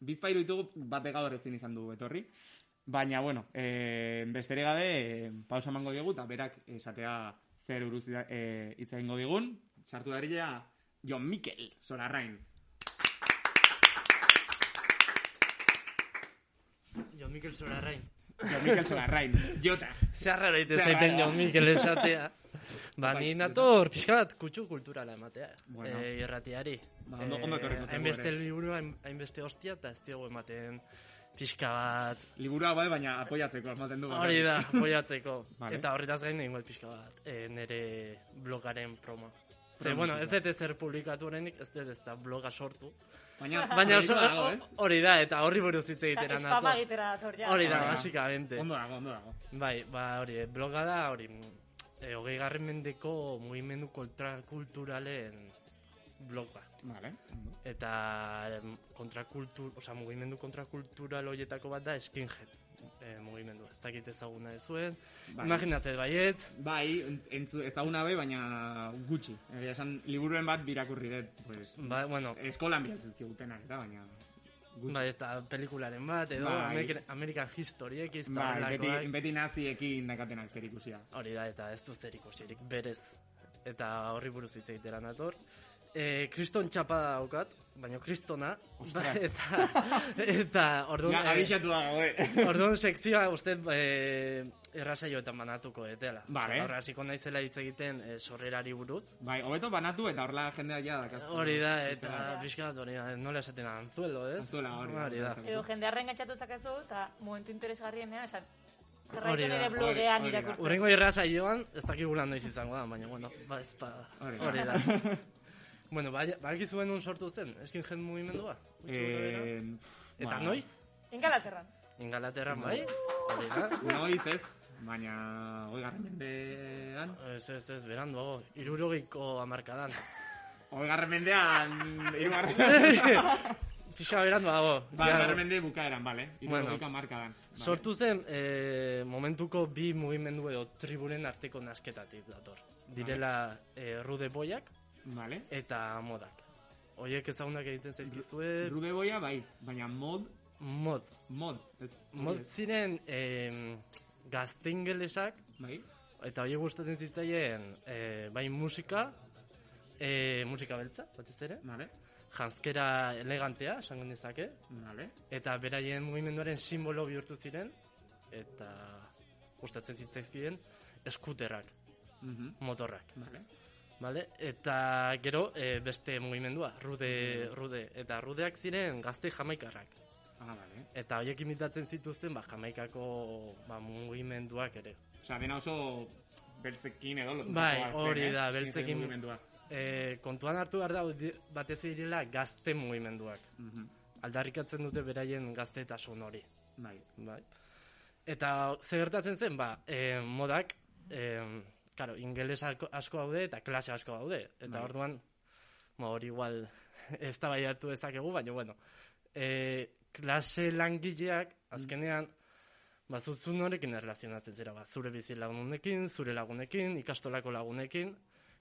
Speaker 2: bizpairu ditugu bat gaur ezin izan dugu etorri. Baina, bueno, e, bestere gabe, e, pausa emango digu, eta berak esatea zer buruz e, hitz egingo digun. Sartu darilea, Jon Mikel, Solarrain.
Speaker 6: Jon Mikel Zorarrain.
Speaker 2: Jon Mikel Solarrain, jota.
Speaker 6: Zeharra horreite
Speaker 2: Zeharra
Speaker 6: zaiten
Speaker 2: da.
Speaker 6: Jon Mikel esatea. Ba,
Speaker 2: Bai,
Speaker 6: ni
Speaker 2: eta-
Speaker 6: nator, pixka bat, kutsu kulturala ematea.
Speaker 2: Bueno.
Speaker 6: Eh, irratiari. Eh,
Speaker 2: Ba, ondo- ondo etorriko zaigu
Speaker 6: Hainbeste
Speaker 2: ere.
Speaker 6: liburu, hain- hainbeste hostia, eta ez diogu ematen pixka bat.
Speaker 2: Liburua bai, baina apoiatzeko, ematen du.
Speaker 6: Hori da, apoiatzeko.
Speaker 2: Vale.
Speaker 6: Eta horretaz gain igual pixka bat, eh, nire blogaren promo. Ze,
Speaker 2: Promo,
Speaker 6: bueno, ez
Speaker 2: pixka.
Speaker 6: dut ezer publikatu horrenik, ez dut ez da bloga sortu.
Speaker 2: Baina,
Speaker 6: Baina oso,
Speaker 2: proiektua dago, eh?
Speaker 6: hori da, eta horri buruz hitz
Speaker 3: Eta
Speaker 6: egitera
Speaker 3: espama
Speaker 6: nator.
Speaker 3: egitera dator, ja.
Speaker 6: Hori da,
Speaker 2: Hori da.
Speaker 6: basikamente.
Speaker 2: Ondo dago, ondo dago.
Speaker 6: Bai, ba, hori, eh, bloga da, hori, mm, eh, hogei garren mendeko mugimendu kontrakulturalen bloga.
Speaker 2: Vale, ondo.
Speaker 6: Eta em, kontrakultur, oza, mugimendu kontrakultural horietako bat da skinhead. e, mugimendu. Ez dakit ezaguna ez zuen.
Speaker 2: Bai.
Speaker 6: Imaginatzen baiet,
Speaker 2: Bai, entzu, ez dauna be, baina gutxi. Egia esan, liburuen bat birakurri dut, pues,
Speaker 6: ba, bueno,
Speaker 2: eskolan bilatzen eta baina Eh, gutxi.
Speaker 6: bai, ez da pelikularen bat, edo
Speaker 2: Bai.
Speaker 6: American, American Historiek ez da
Speaker 2: Bai, beti,
Speaker 6: horrelakoak.
Speaker 2: beti naziekin dakatenak zer ikusia.
Speaker 6: Hori da, eta ez du zer ikusirik, berez. Eta horri buruz hitz egitera nator. E, kriston txapa daukat, baina kristona.
Speaker 2: Ostras.
Speaker 6: eta, eta orduan...
Speaker 2: Ja,
Speaker 6: eh,
Speaker 2: abixatu da gaue.
Speaker 6: Orduan sekzioa uste e, errasaioetan banatuko etela.
Speaker 2: Vale.
Speaker 6: Horra hasiko naizela hitz egiten e, sorrerari buruz.
Speaker 2: Bai, hobeto banatu eta horla jendea ja dakazu.
Speaker 6: Hori da, eta
Speaker 3: Hori da.
Speaker 6: pixka bat hori da, nola esaten anzuelo, ez?
Speaker 2: Anzuela, hori da.
Speaker 6: da.
Speaker 3: Edo jendea rengatxatu zakezu, eta momentu interesgarrienean, esan,
Speaker 6: Hori
Speaker 3: jarraitu
Speaker 6: da,
Speaker 3: nire
Speaker 6: hori-
Speaker 3: blogean
Speaker 2: hori da.
Speaker 3: irakurtzen.
Speaker 6: Urrengo irrasaioan, ez dakigulan noiz izango da, baina, bueno, ba, ez pa...
Speaker 2: Hori da.
Speaker 6: Hori da. bueno, ba, bakizuen un sortu zen, eskin jen mugimendua. Gutxi gora behera.
Speaker 2: Eh,
Speaker 6: Eta
Speaker 2: ba,
Speaker 6: noiz?
Speaker 3: Ingalaterran.
Speaker 6: Ingalaterran, bai? Hori da.
Speaker 2: Noiz ez, baina hoi garren mendean.
Speaker 6: Ez, ez, ez, beranduago, irurogeiko amarkadan.
Speaker 2: Hoi garren mendean, irugarren.
Speaker 6: Fixa beranduago.
Speaker 2: Ba,
Speaker 6: ja.
Speaker 2: garren mende bukaeran, bale.
Speaker 6: Bueno.
Speaker 2: Irugarren markadan. Vale.
Speaker 6: Sortu zen eh, momentuko bi mugimendu edo triburen arteko nasketatik dator. Direla eh, rude boiak
Speaker 2: Vale.
Speaker 6: eta modak. Hoiek ezagunak egiten zaizkizue
Speaker 2: Rude boia, bai, baina mod,
Speaker 6: mod.
Speaker 2: mod. Ez, hori
Speaker 6: Mod
Speaker 2: ez,
Speaker 6: ziren eh, gazte ingelesak
Speaker 2: Bai.
Speaker 6: eta hoiek gustatzen zitzaien eh, bai musika, eh, musika beltza, batez ere,
Speaker 2: Vale,
Speaker 6: janzkera elegantea, esango nezake,
Speaker 2: vale.
Speaker 6: eta beraien mugimenduaren simbolo bihurtu ziren eta gustatzen zitzaizkien eskuterrak,
Speaker 2: Mhm.
Speaker 6: motorrak,
Speaker 2: Vale.
Speaker 6: vale? Eta gero e, beste mugimendua,
Speaker 2: Mm.
Speaker 6: rude, rude eta rudeak ziren gazte jamaikarrak.
Speaker 2: Ah, vale.
Speaker 6: Eta horiek imitatzen zituzten ba, jamaikako ba, mugimenduak ere.
Speaker 2: Osea, dena oso beltzekin edo lotuta
Speaker 6: Bai,
Speaker 2: dago azken,
Speaker 6: hori
Speaker 2: eh?
Speaker 6: da,
Speaker 2: Sin
Speaker 6: beltzekin-
Speaker 2: mugimendua.
Speaker 6: E, kontuan hartu behar da di- batez ere direla gazte mugimenduak.
Speaker 2: Mhm.
Speaker 6: Aldarrikatzen dute beraien gaztetasun hori.
Speaker 2: Bai.
Speaker 6: Bai. Eta ze gertatzen zen, ba, eh, modak, eh, karo, ingeles asko, asko daude eta klase asko daude. Eta
Speaker 2: Bai.
Speaker 6: orduan, ba, hori igual ez tabaiatu dezakegu, baina, bueno, eh, klase langileak, azkenean, ba, zuzun horrekin erlazionatzen zera, ba, zure bizi lagunekin, zure lagunekin, ikastolako lagunekin,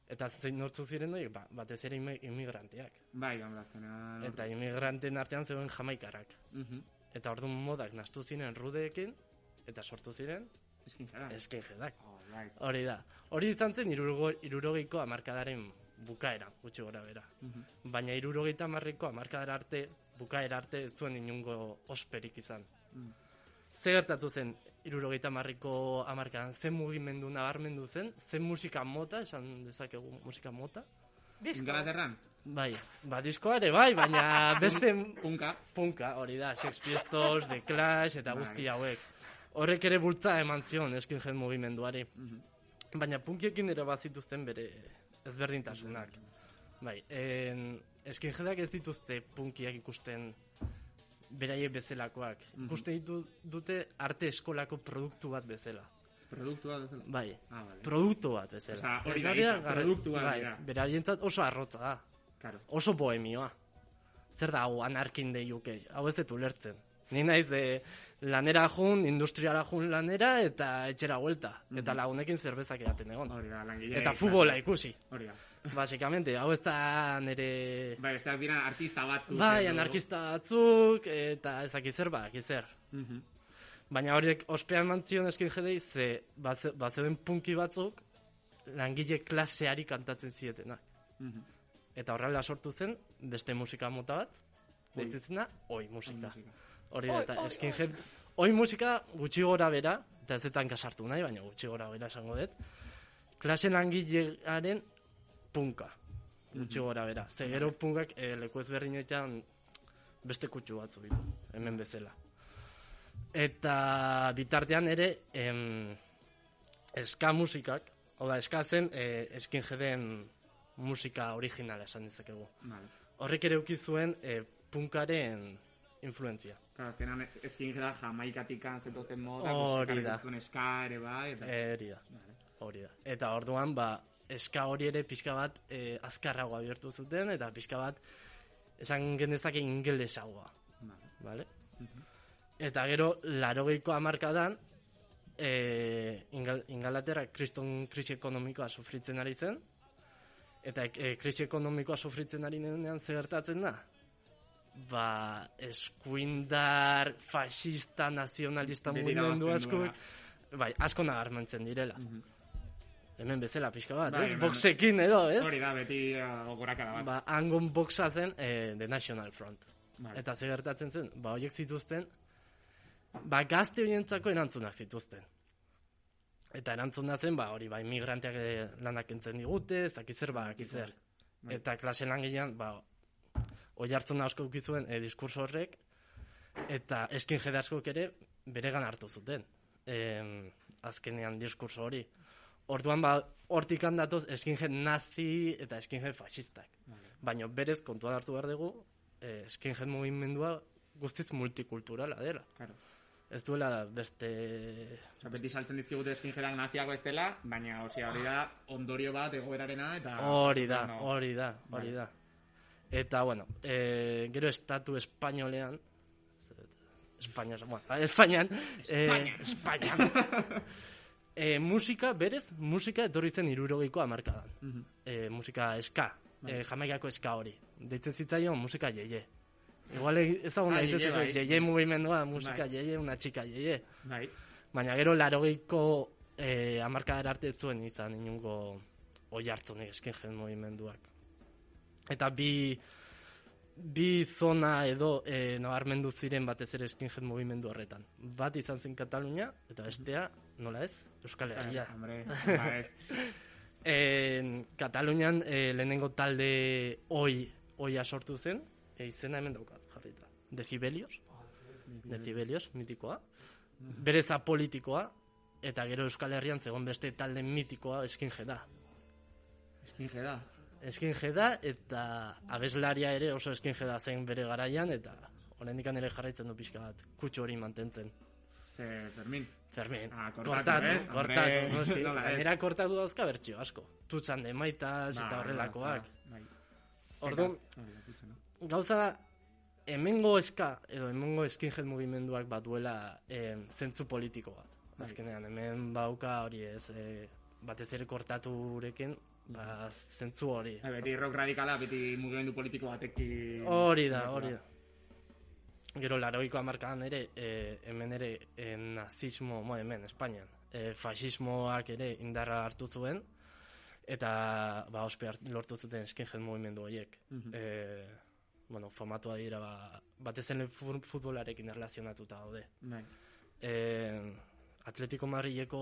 Speaker 6: eta zein nortzu ziren horiek, ba, batez ere imi- imigranteak.
Speaker 2: Bai, gaur azkenean. hor-
Speaker 6: Eta imigranten artean zegoen jamaikarrak.
Speaker 2: Mhm.
Speaker 6: Eta orduan modak nastu ziren rudeekin, eta sortu ziren
Speaker 2: Eskin jara.
Speaker 6: eskejedak.
Speaker 2: Oh, bai.
Speaker 6: Hori da. Hori izan zen irurgo, irurogeiko amarkadaren bukaera, gutxi gora bera.
Speaker 2: Mhm.
Speaker 6: Baina irurogeita amarreko amarkadara arte, bukaera arte, ez zuen inungo osperik izan.
Speaker 2: Mm.
Speaker 6: Ze gertatu zen, irurogeita amarreko amarkadan, zen mugimendu nabarmendu zen, zen musika mota, esan dezakegu musika mota.
Speaker 3: Disko.
Speaker 2: Ingalaterran.
Speaker 6: Bai, ba diskoa ere bai, baina beste
Speaker 2: Punka.
Speaker 6: punka, hori da, Sex Pistols, The Clash eta
Speaker 2: Bai.
Speaker 6: guzti hauek. Horrek ere bultza eman zion eskinhead mugimenduari.
Speaker 2: Mhm.
Speaker 6: Baina punkiekin ere bazituzten bere ezberdintasunak. Bai, en, skinheadak ez dituzte punkiak ikusten beraiek bezalakoak.
Speaker 2: Mhm.
Speaker 6: Ikusten ditu, dute arte eskolako produktu bat bezala.
Speaker 2: Produktua bezala.
Speaker 6: Bai,
Speaker 2: Ah, vale.
Speaker 6: produktu bat bezala.
Speaker 2: Osea, hori da,
Speaker 6: Beraiek
Speaker 2: izan,
Speaker 6: garra-
Speaker 2: produktu bat
Speaker 6: bai,
Speaker 2: dira.
Speaker 6: beraientzat oso arrotza da
Speaker 2: Claro.
Speaker 6: oso bohemioa. Zer da hau anarkin de UK? Hau ez dut ulertzen. Ni naiz de lanera jun, industriara jun lanera eta etxera vuelta. Eta lagunekin zerbezak edaten egon.
Speaker 2: Mhm. Hori da, langile.
Speaker 6: Eta futbola ikusi,
Speaker 2: Hori da.
Speaker 6: basikamente. Hau ez da nere...
Speaker 2: Bai, besteak dira artista batzuk.
Speaker 6: Bai,
Speaker 2: edo-
Speaker 6: anarkista batzuk, eta ez dakit zer, ba, dakit zer.
Speaker 2: Mhm.
Speaker 6: Baina horiek ospean mantzion eskin jedei, ze baze- bazeuden punki batzuk langile klaseari kantatzen zietenak.
Speaker 2: Mhm.
Speaker 6: Eta horrela sortu zen, beste musika mota bat, deitzen da, oi musika.
Speaker 2: Musika.
Speaker 6: Hori da,
Speaker 3: Oi,
Speaker 6: eta
Speaker 3: oi,
Speaker 6: skinhead, oi musika gutxi gora bera, eta ez zetan kasartu nahi, baina gutxi gora bera esango dut, klase langilearen punka, gutxi gora bera. Ze gero punkak eh, leku ezberdinetan beste kutsu batzu ditu, hemen bezala. Eta bitartean ere, em, eska musikak, hau da, eska zen eh, skinheaden musika originala esan dezakegu.
Speaker 2: Vale.
Speaker 6: Horrek ere uki zuen eh, punkaren influentzia.
Speaker 2: Claro, azkenan eskin jara jamaikatik zetozen moda.
Speaker 6: Hori
Speaker 2: pues, ekarri
Speaker 6: da.
Speaker 2: zituen Eska ere, bai. Eta...
Speaker 6: Eh, Hori da. Hori da. Eta orduan, ba, eska hori ere pixka bat e, azkarragoa bihurtu zuten, eta pixka bat esan genezake ingelesagoa.
Speaker 2: Vale.
Speaker 6: Vale? Eta gero, larogeiko hamarkadan, e, Ingal, Ingalaterra kriston krisi ekonomikoa sufritzen ari zen, eta e, krisi ekonomikoa sufritzen ari denean ze gertatzen da? Ba, eskuindar, fascista, nazionalista
Speaker 2: Bere
Speaker 6: mugimendu
Speaker 2: irabazten
Speaker 6: asko,
Speaker 2: duena.
Speaker 6: bai, asko nagarmentzen direla. Hemen bezala pixka bat,
Speaker 2: Mhm. Bai,
Speaker 6: ez?
Speaker 2: hemen-
Speaker 6: Boxekin edo, ez?
Speaker 2: Hori da, beti ah, gorakada bat.
Speaker 6: Ba, hangon boxa zen eh, The National Front.
Speaker 2: Vale.
Speaker 6: Eta ze gertatzen zen, ba, horiek zituzten, ba, gazte horientzako erantzunak zituzten. Eta erantzuna zen, ba, hori, ba, imigranteak eh, lanak entzen digute, ez dakit zer, ba, dakit zer.
Speaker 2: Bai.
Speaker 6: Eta klase langilean, ba, oi hartzen asko ukizuen e, diskurso horrek, eta eskin jede askok ere beregan hartu zuten. Em, azkenean diskurso hori. Orduan, ba, hortik handatoz eskinhead nazi eta eskinhead fascistak. Baina berez kontuan hartu behar dugu, eh, skinhead mugimendua guztiz multikulturala dela.
Speaker 2: Claro.
Speaker 6: Ez duela beste...
Speaker 2: Osa, beti saltzen dizkigute eskinjerak naziago ez dela, baina osea, hori da ondorio bat egoerarena eta...
Speaker 6: Hori da, bai.
Speaker 2: No.
Speaker 6: hori da, hori da. Eta, bueno, eh, gero estatu espainolean, Espainian, bueno, Espainian, eh, Espainian. eh, musika, berez, musika etorri zen irurogeiko amarkadan.
Speaker 2: Mhm.
Speaker 6: eh, musika eska, eh, jamaikako eska hori. Deitzen zitzaion musika yeye. Igual ezagun
Speaker 2: Ah,
Speaker 6: ah,
Speaker 2: yeye,
Speaker 6: daitezke
Speaker 2: bai.
Speaker 6: yeye mugimendua, musika
Speaker 2: Bai.
Speaker 6: yeye, una chica yeye.
Speaker 2: Bai.
Speaker 6: Baina gero larogeiko eh, amarkadara arte ez zuen izan inungo oi hartzunik eskinjen mugimenduak. Eta bi, bi zona edo eh, nabarmendu ziren batez ere eskinjen mugimendu horretan. Bat izan zen Katalunia eta bestea, nola ez, Euskal Herria.
Speaker 2: Eh, hombre, ba, ez.
Speaker 6: En, Katalunian eh, lehenengo talde oi, oia sortu zen, e, izena hemen daukat jarrita. Decibelios, Decibelios, mitikoa. Bereza politikoa, eta gero Euskal Herrian zegoen beste talde mitikoa eskinje da.
Speaker 2: Eskinje da.
Speaker 6: Eskinje da, eta abeslaria ere oso eskinje da zen bere garaian, eta oraindik ere jarraitzen du pixka bat, kutsu hori mantentzen.
Speaker 2: Ze, Fermin.
Speaker 6: Fermin,
Speaker 2: Ah, kortatu,
Speaker 6: kortatu,
Speaker 2: eh?
Speaker 6: kortatu,
Speaker 2: Hombre,
Speaker 6: noski.
Speaker 2: nola ez.
Speaker 6: Gainera kortatu dauzka bertxio asko. Tutsan de maitas
Speaker 2: Ba,
Speaker 6: eta horrelakoak.
Speaker 2: ba, Bai.
Speaker 6: Orduan,
Speaker 2: Hori da, kutxa, no?
Speaker 6: gauza da, hemengo eska, edo hemengo skinhead mugimenduak bat duela em, zentzu politiko bat.
Speaker 2: Bai.
Speaker 6: Azkenean, hemen bauka hori ez, eh, batez ere kortaturekin, ba, zentzu hori.
Speaker 2: Bai, Beti rock radikala, beti mugimendu politiko batekin...
Speaker 6: Hori da, hori da. Gero laroiko hamarkadan ere, eh, hemen ere eh, nazismo, bueno, hemen, Espainian, eh, fasismoak ere indarra hartu zuen, eta ba, ospe hart- lortu zuten skinhead mugimendu horiek.
Speaker 2: Mhm.
Speaker 6: eh, bueno, formatua dira, ba, batez ere fu- futbolarekin erlazionatuta daude.
Speaker 2: Bai.
Speaker 6: Eh, Atletico Madrileko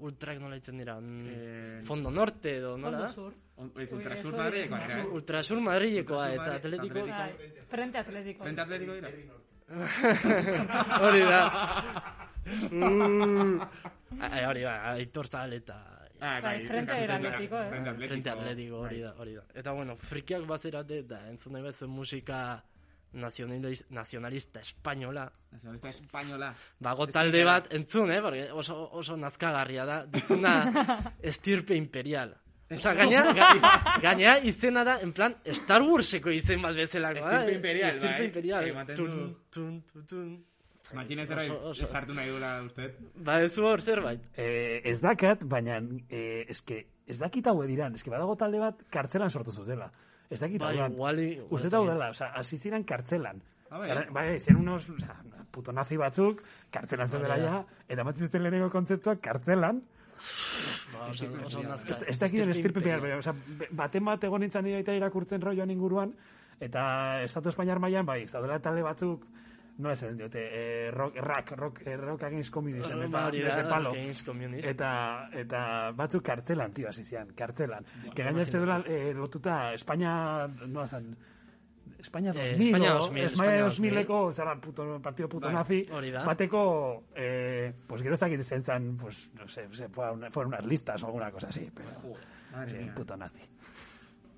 Speaker 6: ultrak nola ditzen dira? Mm,
Speaker 2: Eh,
Speaker 6: Fondo Norte edo nola da?
Speaker 3: Sur.
Speaker 2: on- Ez ultrasur madrilekoak dira, eh?
Speaker 6: Ultrasur Madrilekoa
Speaker 2: Ultrasur
Speaker 6: eta
Speaker 2: Madri-
Speaker 6: Atletico
Speaker 2: Atletico.
Speaker 3: Bai, Frente Atlético.
Speaker 2: Frente atletiko dira?
Speaker 6: Hori da. Mm. Ai, hori da, Aitor Zabal eta
Speaker 2: Ah,
Speaker 3: Bai, Frente
Speaker 2: ultrasur
Speaker 3: del
Speaker 2: dira.
Speaker 3: Atlético, eh?
Speaker 2: Frente atletiko.
Speaker 6: Frente Atletico, hori
Speaker 2: Bai.
Speaker 6: da, hori da. Eta bueno, frikiak bazerate eta entzun nahi bezuen musika nazionalis- nazionalista espainola.
Speaker 2: Nazionalista espainola.
Speaker 6: Bago
Speaker 2: Ez
Speaker 6: talde
Speaker 2: dira.
Speaker 6: bat entzun, eh? Porque oso, oso nazkagarria da. Dituna estirpe imperial. Osa, gaina, ga- gaina izena da, en plan, Star Warseko izen bat bezalako. da?
Speaker 2: Estirpe imperial,
Speaker 6: Estirpe
Speaker 2: bai.
Speaker 6: imperial.
Speaker 2: Ematen
Speaker 6: Tun,
Speaker 2: du.
Speaker 6: tun, tun, tun.
Speaker 2: Makinez zerra
Speaker 6: Oso- oso.
Speaker 2: sartu nahi duela uste.
Speaker 6: Badezu ba, hor zerbait.
Speaker 7: Eh, ez dakat, baina eh, eske, ez dakit hau diran, eske badago talde bat kartzelan sortu zutela. Ez dakit
Speaker 6: Ba,
Speaker 7: hau dan.
Speaker 6: igual...
Speaker 7: Uste hau dela, oza, hasi ziren kartzelan.
Speaker 2: Ah, bai.
Speaker 7: Zara- Bai, zen unos o sea, puto nazi batzuk, kartzelan zeudela
Speaker 6: Bai,
Speaker 7: ja, eta matzen zuten lehenengo kontzeptuak kartzelan.
Speaker 6: Ba, oso, oso nazka.
Speaker 7: Ez, ez dakit estirpe behar, baina, oza, baten bat egon nintzen nire baita irakurtzen roioan inguruan, eta Estatu Espainiar mailan bai, zaudela talde batzuk, no ez diote, eh, rock, rock, rock, eh, rock against communism, eta de ese palo. Eta, eta batzuk kartzelan, tio, hasi zian, kartzelan. que gaina zeudela eh, lotuta Espainia, noa zan, Espainia 2000,
Speaker 6: Eh, Espainia
Speaker 7: o-
Speaker 6: 2000,
Speaker 7: Espainia
Speaker 6: Espainia
Speaker 7: 2000eko, zara, puto, partido puto
Speaker 2: Bai,
Speaker 7: nazi,
Speaker 6: hori da.
Speaker 7: bateko, eh, pues gero ez dakit zentzan, pues, no sé, se fueron, una- fueron unas listas o alguna cosa así, pero,
Speaker 2: Madre
Speaker 7: sí,
Speaker 2: mía.
Speaker 7: puto nazi.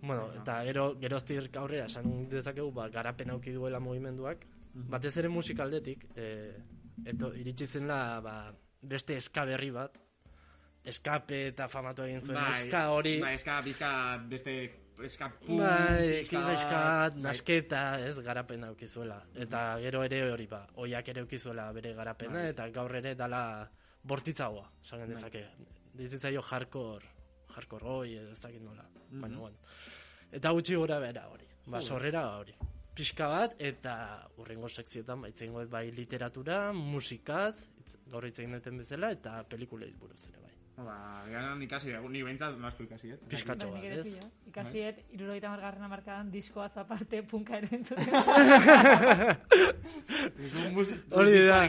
Speaker 6: Bueno, eta gero, gero aurrera, esan dezakegu, ba, garapen auki duela mugimenduak. Batez ere musikaldetik, eh, eto, iritsi zen la, ba, beste eska berri Bai, bat. Eskape eta famatu egin zuen eska hori.
Speaker 2: Bai, eska bizka Bai, beste eskapu...
Speaker 6: Bai, kibaiskat, nasketa, ez, garapena aukizuela. Eta gero ere hori ba, oiak ere aukizuela bere garapena,
Speaker 2: Bai.
Speaker 6: eta gaur ere dala bortitzagoa, esan dezake. Dizitzaio jarkor, jarkor hoi, ez dakit nola. Baina, bueno. Eta gutxi gora bera hori, ba, sorrera hori. Pixka bat, eta urrengo sekzioetan, ba, itzengo bai literatura, musikaz, hitz- gaur itzen duten bezala, eta pelikulei buruz ere bai.
Speaker 2: Ba, ganon ikasi dugu, ni behintzat masko ikasi eh. dut.
Speaker 6: Pixkatxo
Speaker 3: Bai,
Speaker 6: bat,
Speaker 3: nik ere
Speaker 6: ez?
Speaker 3: pilo. Ikasi dut, irurogeita margarren amarkadan diskoa zaparte punka ere entzuten.
Speaker 6: Hori da.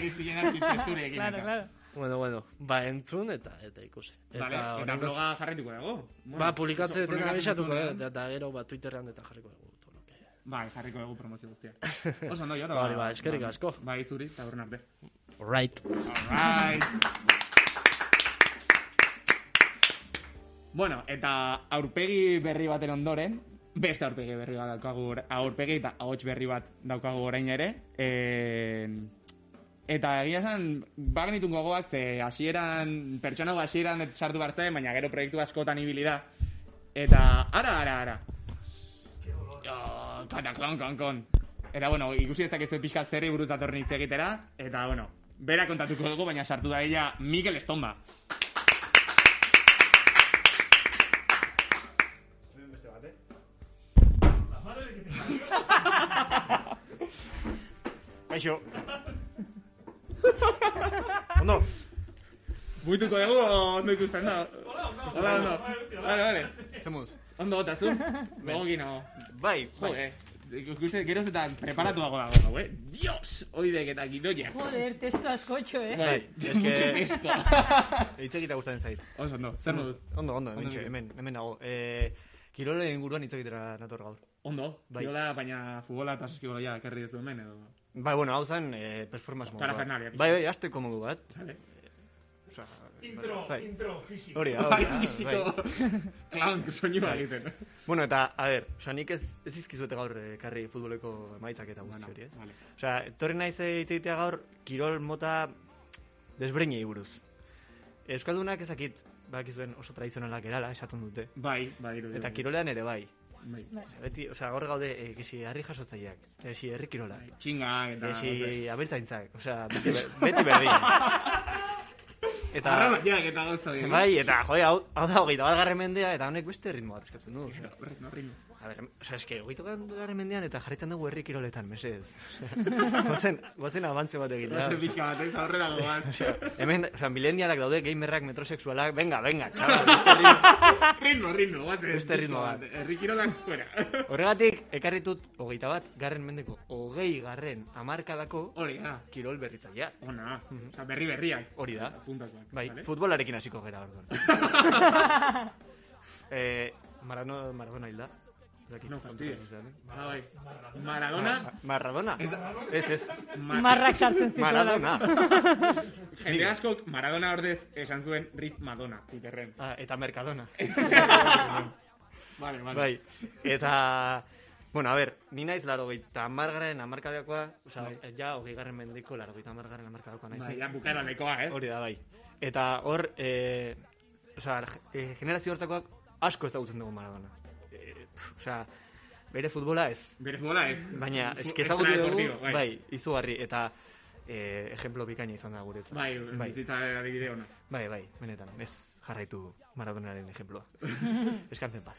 Speaker 3: claro, claro.
Speaker 6: Bueno, bueno, ba, entzun eta eta ikusi.
Speaker 2: Eta, vale, eta
Speaker 6: horrengoz-
Speaker 2: bloga jarretuko dugu. Bueno,
Speaker 6: Ba, publikatze
Speaker 2: oso, eh.
Speaker 6: deten
Speaker 2: publikatzen
Speaker 6: abisatuko,
Speaker 2: dugunean.
Speaker 6: eta, eta gero, ba, Twitterrean eta jarriko dugu. todo lo que-
Speaker 2: Bai, jarriko dugu promozio guztia. Oso ondo, jota.
Speaker 6: Bale, ba, eskerrik asko.
Speaker 2: Bai, zuri, eta horren arte.
Speaker 6: Right.
Speaker 2: Alright. bueno, eta aurpegi berri baten ondoren, beste aurpegi berri bat daukagu, or- aurpegi eta ahots berri bat daukagu orain ere. En... Eta egia esan, bagenitun gogoak, ze hasieran, pertsona hau hasieran sartu bartzen, baina gero proiektu askotan ibili da. Eta, ara, ara, ara. Jo, kata, klon, klon, klon. Eta, bueno, ikusi ez dakizu pixkat zerri buruz datorren hitz egitera, eta, bueno, bera kontatuko dugu, baina sartu da ella Mikel Estomba.
Speaker 8: Kaixo. Ondo,
Speaker 2: Buituko dugu, o ondo ikusten da.
Speaker 4: Hola, hola,
Speaker 2: Hola, ondo.
Speaker 4: Bai, utzi, hola.
Speaker 2: Vale, vale.
Speaker 8: zemuz.
Speaker 2: Ondo, eta zu? Gogokino.
Speaker 8: Bai,
Speaker 2: Jo,
Speaker 8: bai.
Speaker 2: eh. Ikusten, geroz eta preparatuago dago, hau, eh? Dios! Oidek eta gidoiak.
Speaker 3: Joder, testu askotxo, eh?
Speaker 2: Bai,
Speaker 8: eske-
Speaker 2: mucho texto.
Speaker 8: Hitz egita gustatzen zait.
Speaker 2: Oso, ondo, zer moduz?
Speaker 8: Ondo, ondo, hemen,
Speaker 2: Ondo,
Speaker 8: hemen, hemen nago. Eh, kirole inguruan hitz egitera nator gaur.
Speaker 2: Ondo,
Speaker 8: Bai.
Speaker 2: kirola, baina futbola eta saskiboloia ekarri ez hemen, edo...
Speaker 8: Bai, bueno, hau zen eh, performance modu.
Speaker 2: Parafernalia, pixka.
Speaker 8: Bai, bai, azteko modu bat.
Speaker 2: Vale.
Speaker 8: Osea,
Speaker 4: Intro,
Speaker 8: bai.
Speaker 4: intro, fisik.
Speaker 8: Hori, da,
Speaker 2: Bai,
Speaker 8: hori. da,
Speaker 2: biziko...
Speaker 8: bai.
Speaker 2: Clown, soinua egiten.
Speaker 8: Bueno, eta, a ber, osea, nik ez, ez izkizuete gaur eh, karri futboleko emaitzak eta guzti hori, ez?
Speaker 2: Vale.
Speaker 8: Osea, etorri naiz eh, hitz egitea gaur, kirol mota desbreinei buruz. Euskaldunak ezakit, badakizuen oso tradizionalak erala, esaten dute.
Speaker 2: Bai, bai, dirudi.
Speaker 8: Eta kirolean ere bai.
Speaker 2: Bai.
Speaker 8: Beti, osea, hor gaude, eh, kisi herri jasotzaileak, kisi herri kirolak,
Speaker 2: Txingak Bai, eta...
Speaker 8: kisi abeltzaintzak, osea, beti, be- beti berdin. Eta,
Speaker 2: Arrabaiak eta gauza horiek.
Speaker 8: bai, eta, jode, hau, hau da hogeita bat garren mendea, eta honek beste ritmo bat eskatzen du. Osea,
Speaker 2: Ritmo, ritmo.
Speaker 8: A ber, osea, eske, hogeita bat garren mendean eta jarretzen dugu herri kiroletan, mesedez. goazen, goazen abantze bat egitea.
Speaker 2: Zer pixka bat, ez aurrera goan.
Speaker 8: Hemen, osea, milenialak daude, gamerrak, metrosexualak, venga, venga, txabal.
Speaker 2: Ritmo, ritmo, bat.
Speaker 8: Beste ritmo bat.
Speaker 2: Herri kirolak fuera.
Speaker 8: Horregatik, ekarritut, hogeita bat, garren mendeko, hogei garren amarkadako,
Speaker 2: Hori da.
Speaker 8: kirol berritzailea.
Speaker 2: Ona, oza, berri berriak.
Speaker 8: Mhm. Hori da.
Speaker 2: Puntakoak.
Speaker 8: Bai,
Speaker 2: vale?
Speaker 8: futbolarekin hasiko gera, orduan. eh, Marano, Maradona hilda. Ez dakit,
Speaker 2: No, fastidio.
Speaker 8: kontra sozialen.
Speaker 2: Ah, bai. Maradona,
Speaker 8: Ma- ah, Maradona? Ez, ez.
Speaker 3: Marrak sartzen zituen.
Speaker 8: Maradona.
Speaker 2: jende askok Maradona ordez esan zuen Riff Madonna, titerren.
Speaker 8: Ah, eta Mercadona.
Speaker 2: Vale, vale.
Speaker 8: Bai. Eta... Bueno, a ber, ni naiz laro gita amargaren amarkadakoa, oza, ja hogei garren mendeko laro gita amargaren amarkadakoa naiz.
Speaker 2: Bai, ja bukara lekoa, eh?
Speaker 8: Hori da, bai. Eta hor, e, oza, generazio hortakoak asko ezagutzen dugu Maradona. E, oza, bere futbola ez,
Speaker 2: Bere futbola ez.
Speaker 8: baina
Speaker 2: Fu-
Speaker 8: eske ezagutu dugu,
Speaker 2: extradeportivo,
Speaker 8: bai. izugarri, eta e, ejemplo bikaina izan da guretzat.
Speaker 2: Bai,
Speaker 8: bai,
Speaker 2: bizitza adibide ona.
Speaker 8: bai, bai, benetan, ez jarraitu Maradonaren ejemploa. Eskantzen paz.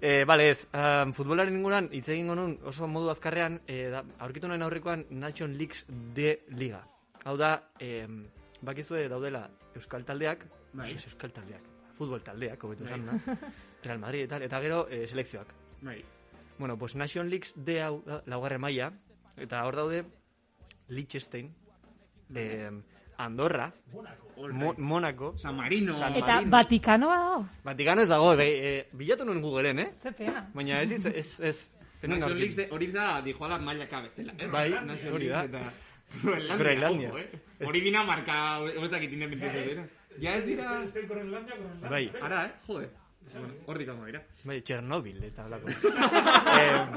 Speaker 8: e, bale, ez, um, futbolaren inguran, hitz egingo nun oso modu azkarrean, e, da, aurkitu nahi aurrekoan Nation Leagues D Liga. Hau da, em, bakizue daudela Euskal Taldeak,
Speaker 2: Bai.
Speaker 8: ez, Euskal Taldeak, futbol taldeak, hobetu esan, na? Real Madrid eta, eta gero e, selekzioak.
Speaker 2: Bai.
Speaker 8: Bueno, pues Nation Leagues D hau da, laugarren maila, eta hor daude Liechtenstein, em, Andorra, Mo- Monaco,
Speaker 2: San Marino.
Speaker 8: San
Speaker 3: Eta Vatikanoa dago.
Speaker 8: Vatikano ez dago, be, e, bilatu nuen Googleen, eh?
Speaker 3: Ze pena.
Speaker 8: Baina ez, ez, ez, ez. ez nuen
Speaker 2: Nation
Speaker 8: aurkitu.
Speaker 2: Leagues de- hori da dijoala mailaka bezala. eh?
Speaker 8: Bai,
Speaker 2: Nation
Speaker 8: hori
Speaker 2: Leagues
Speaker 8: da.
Speaker 2: eta Groenlandia,
Speaker 8: Groenlandia.
Speaker 2: ojo, eh? Hori bina marka, horretak independiente dira. Ja ez dira,
Speaker 4: Estoy con Irlandia, con Irlandia.
Speaker 8: Bai,
Speaker 2: ara, eh, jode. Bueno, Hortik hango dira.
Speaker 8: bai, Txernobil eta alako. eh,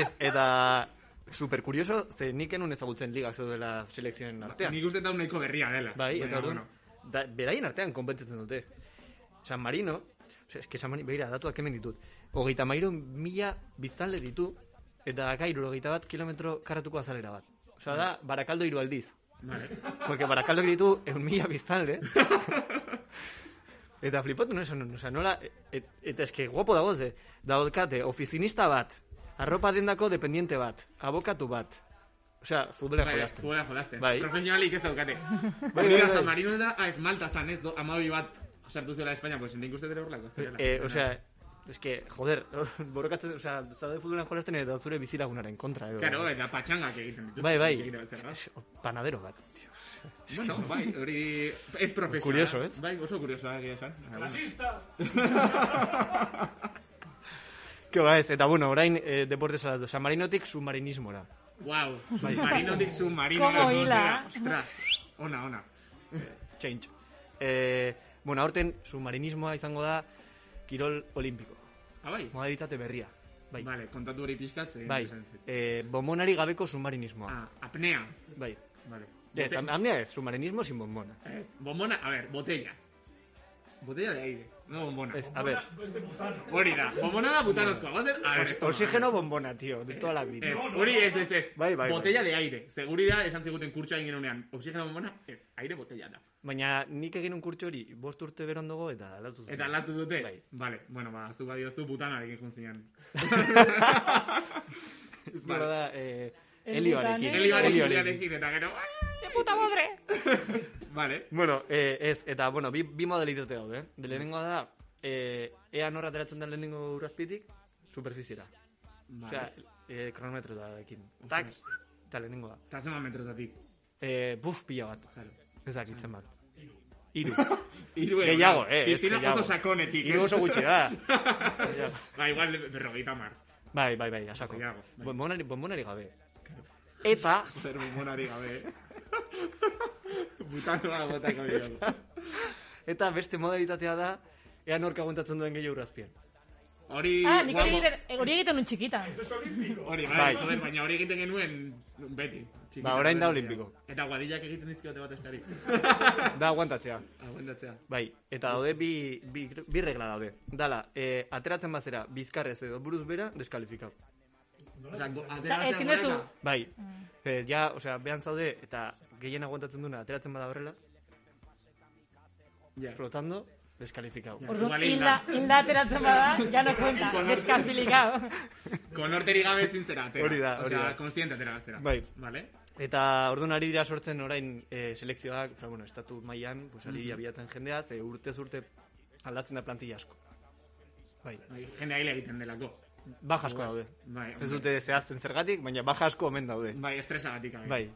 Speaker 8: ez, eta super kurioso, ze nik enun ezagutzen ligak zeudela selekzioen artean.
Speaker 2: Nik uste da uneko berria dela.
Speaker 8: Bai,
Speaker 2: Baina,
Speaker 8: eta orduan,
Speaker 2: bueno.
Speaker 8: da, beraien artean konpetitzen dute. San Marino, Osea, eske samani, begira, datuak hemen ditut. Hogeita mairu mila biztanle ditu, eta dakairu hogeita bat kilometro karratuko azalera bat. Osea, da, barakaldo hiru aldiz. Porque barakaldo ditu eun mila biztanle. eta flipatu no esan, osea, nola, et- eta eske guapo dagoz, eh? Daudkate, ofizinista bat, arropa dendako dependiente bat, abokatu bat. Osea, futbola
Speaker 2: Bai,
Speaker 8: jolasten.
Speaker 2: futbola jolasten.
Speaker 8: Bai.
Speaker 2: Profesionalik ez daukate.
Speaker 8: Bai,
Speaker 2: Baina
Speaker 8: bai, bai.
Speaker 2: San Marino da, ah, ez Malta zan, ez, do- hamabi bat sartu zuela Espainia, pues nik uste dela horlako. ez dela.
Speaker 8: Eh, osea, es que, joder, borrokatzen, osea, zaude futbolan jolasten eta zure bizilagunaren kontra, edo.
Speaker 2: Claro, eh. eta patxangak egiten ditu.
Speaker 8: Bai, bai.
Speaker 2: Egiten dute, no?
Speaker 8: Es, panadero bat.
Speaker 2: Bueno, bai, hori ez profesional.
Speaker 8: Curioso, ¿eh? ez?
Speaker 2: Bai, oso curioso da egia esan. Ah, bueno.
Speaker 4: ¡Fascista!
Speaker 8: Kio gaiz, ba eta bueno, orain eh, deportes alaz San Marinotik submarinismora.
Speaker 2: Guau, marinotik submarino.
Speaker 3: Como hila.
Speaker 2: Ostras, ona, ona.
Speaker 8: Change. Eh, bueno, aurten submarinismoa izango da kirol olimpiko.
Speaker 2: Ah, bai?
Speaker 8: Modalitate berria. Bai.
Speaker 2: Vale, kontatu hori pixkat. eh,
Speaker 8: Bai.
Speaker 2: interesante.
Speaker 8: Eh, bomonari gabeko submarinismoa.
Speaker 2: Ah, apnea.
Speaker 8: Bai.
Speaker 2: Vale.
Speaker 8: Ez,
Speaker 2: Bote-
Speaker 8: am- amnea ez, submarinismo sin bombona.
Speaker 2: ez, bombona, a ver, botella. Botella de aire, no bombona.
Speaker 8: Ez, a ver,
Speaker 4: Pues de putano.
Speaker 2: Hori da, bombona da butanozkoa, guazen, a ver, esto.
Speaker 8: oxigeno bombona, tío, de toda la vida.
Speaker 2: Ez, hori ez, ez, ez.
Speaker 8: Bai, bai,
Speaker 2: botella de aire. Seguridad esan ziguten kurtsa egin genunean. Oxigeno bombona, ez, aire botella da.
Speaker 8: Baina nik egin un kurtso hori bost urte berondago eta aldatu zuten.
Speaker 2: Eta latu dute.
Speaker 8: Bai.
Speaker 2: Vale, bueno, ba, zu badiozu butanarekin juntzinean.
Speaker 8: Nola
Speaker 2: vale.
Speaker 8: da, eh,
Speaker 3: El
Speaker 8: helioarekin.
Speaker 3: butanero.
Speaker 2: Helioarekin,
Speaker 8: Helioarekin.
Speaker 2: helioarekin, eta gero... "Ah!"
Speaker 3: ¡Qué puta madre!
Speaker 2: Vale.
Speaker 8: Bueno, eh, ez, eta, bueno, bi, bi modalitate daude. eh?
Speaker 2: Mm.
Speaker 8: De lehenengoa da, eh, ea norra ateratzen den lehenengo urrazpitik, superfiziera. Osea,
Speaker 2: Vale.
Speaker 8: eh, kronometro da ekin. Tak, eta lehenengoa.
Speaker 2: Eta zeman metrotatik.
Speaker 8: Eh, buf, pila bat.
Speaker 2: Claro.
Speaker 8: Ez dakitzen bat. Iru.
Speaker 2: Hiru euro.
Speaker 8: Gehiago, eh, ez,
Speaker 2: Piztina
Speaker 8: gehiago.
Speaker 2: oso sakonetik. eh.
Speaker 8: Iru oso gutxi da. Gehiago.
Speaker 2: ba, igual berrogeita mar.
Speaker 8: bai, bai, bai, asako.
Speaker 2: Gehiago, bai.
Speaker 8: Bonbonari, bonbonari gabe. Eta,
Speaker 2: Zer bumonari gabe, eh? Butanoa botako gehiago.
Speaker 8: Eta beste modalitatea da, ea nork aguantatzen duen gehiago urazpien.
Speaker 2: Hori...
Speaker 3: Ah, nik hori
Speaker 2: guapo.
Speaker 3: egiten, hori egiten un txikitan.
Speaker 2: Hori, bai,
Speaker 8: Bai.
Speaker 2: joder, baina hori egiten genuen beti. txikita,
Speaker 8: Ba, orain da
Speaker 2: beti.
Speaker 8: olimpiko.
Speaker 2: Eta guadillak egiten dizkiote bat estari.
Speaker 8: Da aguantatzea.
Speaker 2: Aguantatzea.
Speaker 8: Bai, eta daude bi, bi, bi regla daude. Dala, e, ateratzen bazera, bizkarrez edo buruz bera, deskalifikau.
Speaker 2: Osea, go-
Speaker 3: Osea,
Speaker 2: ateratzea
Speaker 3: ezin duzu,
Speaker 2: goraka.
Speaker 8: Bai, e, ja, osea, behan zaude, eta gehien aguantatzen duna, ateratzen bada horrela,
Speaker 2: Ja.
Speaker 8: flotando, deskalifikau.
Speaker 2: Ja.
Speaker 3: orduan,
Speaker 2: Igual
Speaker 3: hilda,
Speaker 2: hilda.
Speaker 3: hilda ateratzen bada, ya no cuenta, deskanfilikao.
Speaker 2: Con horteri gabe ezin zera, atera.
Speaker 8: Hori da, hori
Speaker 2: Osea,
Speaker 8: da.
Speaker 2: konstiente atera zera.
Speaker 8: Bai.
Speaker 2: Vale?
Speaker 8: Eta orduan ari dira sortzen orain e, selekzioak, fra, bueno, estatu mailan, pues, ari
Speaker 2: Mm.
Speaker 8: dira bilatzen jendea, ze urtez urte aldatzen da plantilla asko. Bai,
Speaker 2: Bai, Jende aile egiten delako.
Speaker 8: baja asko daude.
Speaker 2: Bai,
Speaker 8: Ez
Speaker 2: hombre.
Speaker 8: dute zehazten zergatik, baina baja asko omen daude.
Speaker 2: Bai, Mm. estresagatik. gabe.
Speaker 8: Bai.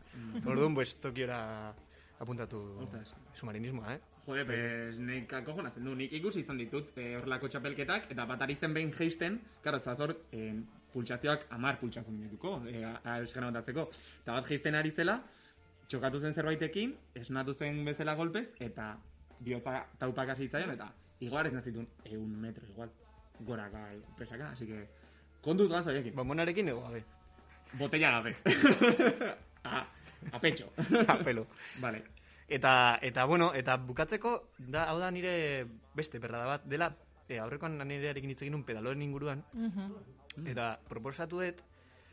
Speaker 8: Orduan, pues, Tokiora apuntatu
Speaker 2: Ostras.
Speaker 8: submarinismoa, eh?
Speaker 2: Jode, pues, nik kojonatzen du, nik ikusi izan ditut eh, horrelako txapelketak, eta bat arizen behin geisten, karo, zazor, eh, pultsazioak amar pultsatzen dituko, eh, euskara botatzeko. Eta bat geisten ari zela, txokatu zen zerbaitekin, esnatu zen bezala golpez, eta bihotza taupak hasi zitzaion, eta igual ez nazitun, eun metro igual, goraka, presaka, así que, kontuz gaz horiekin,
Speaker 8: Bombonarekin ego gabe.
Speaker 2: botella gabe. a, a pecho.
Speaker 8: Apelo.
Speaker 2: vale.
Speaker 8: Eta, eta, bueno, eta bukatzeko, da, hau da nire beste perrada bat, dela, e, aurrekoan nirearekin hitz egin un pedaloren inguruan,
Speaker 2: Mm.
Speaker 8: eta proposatu dut,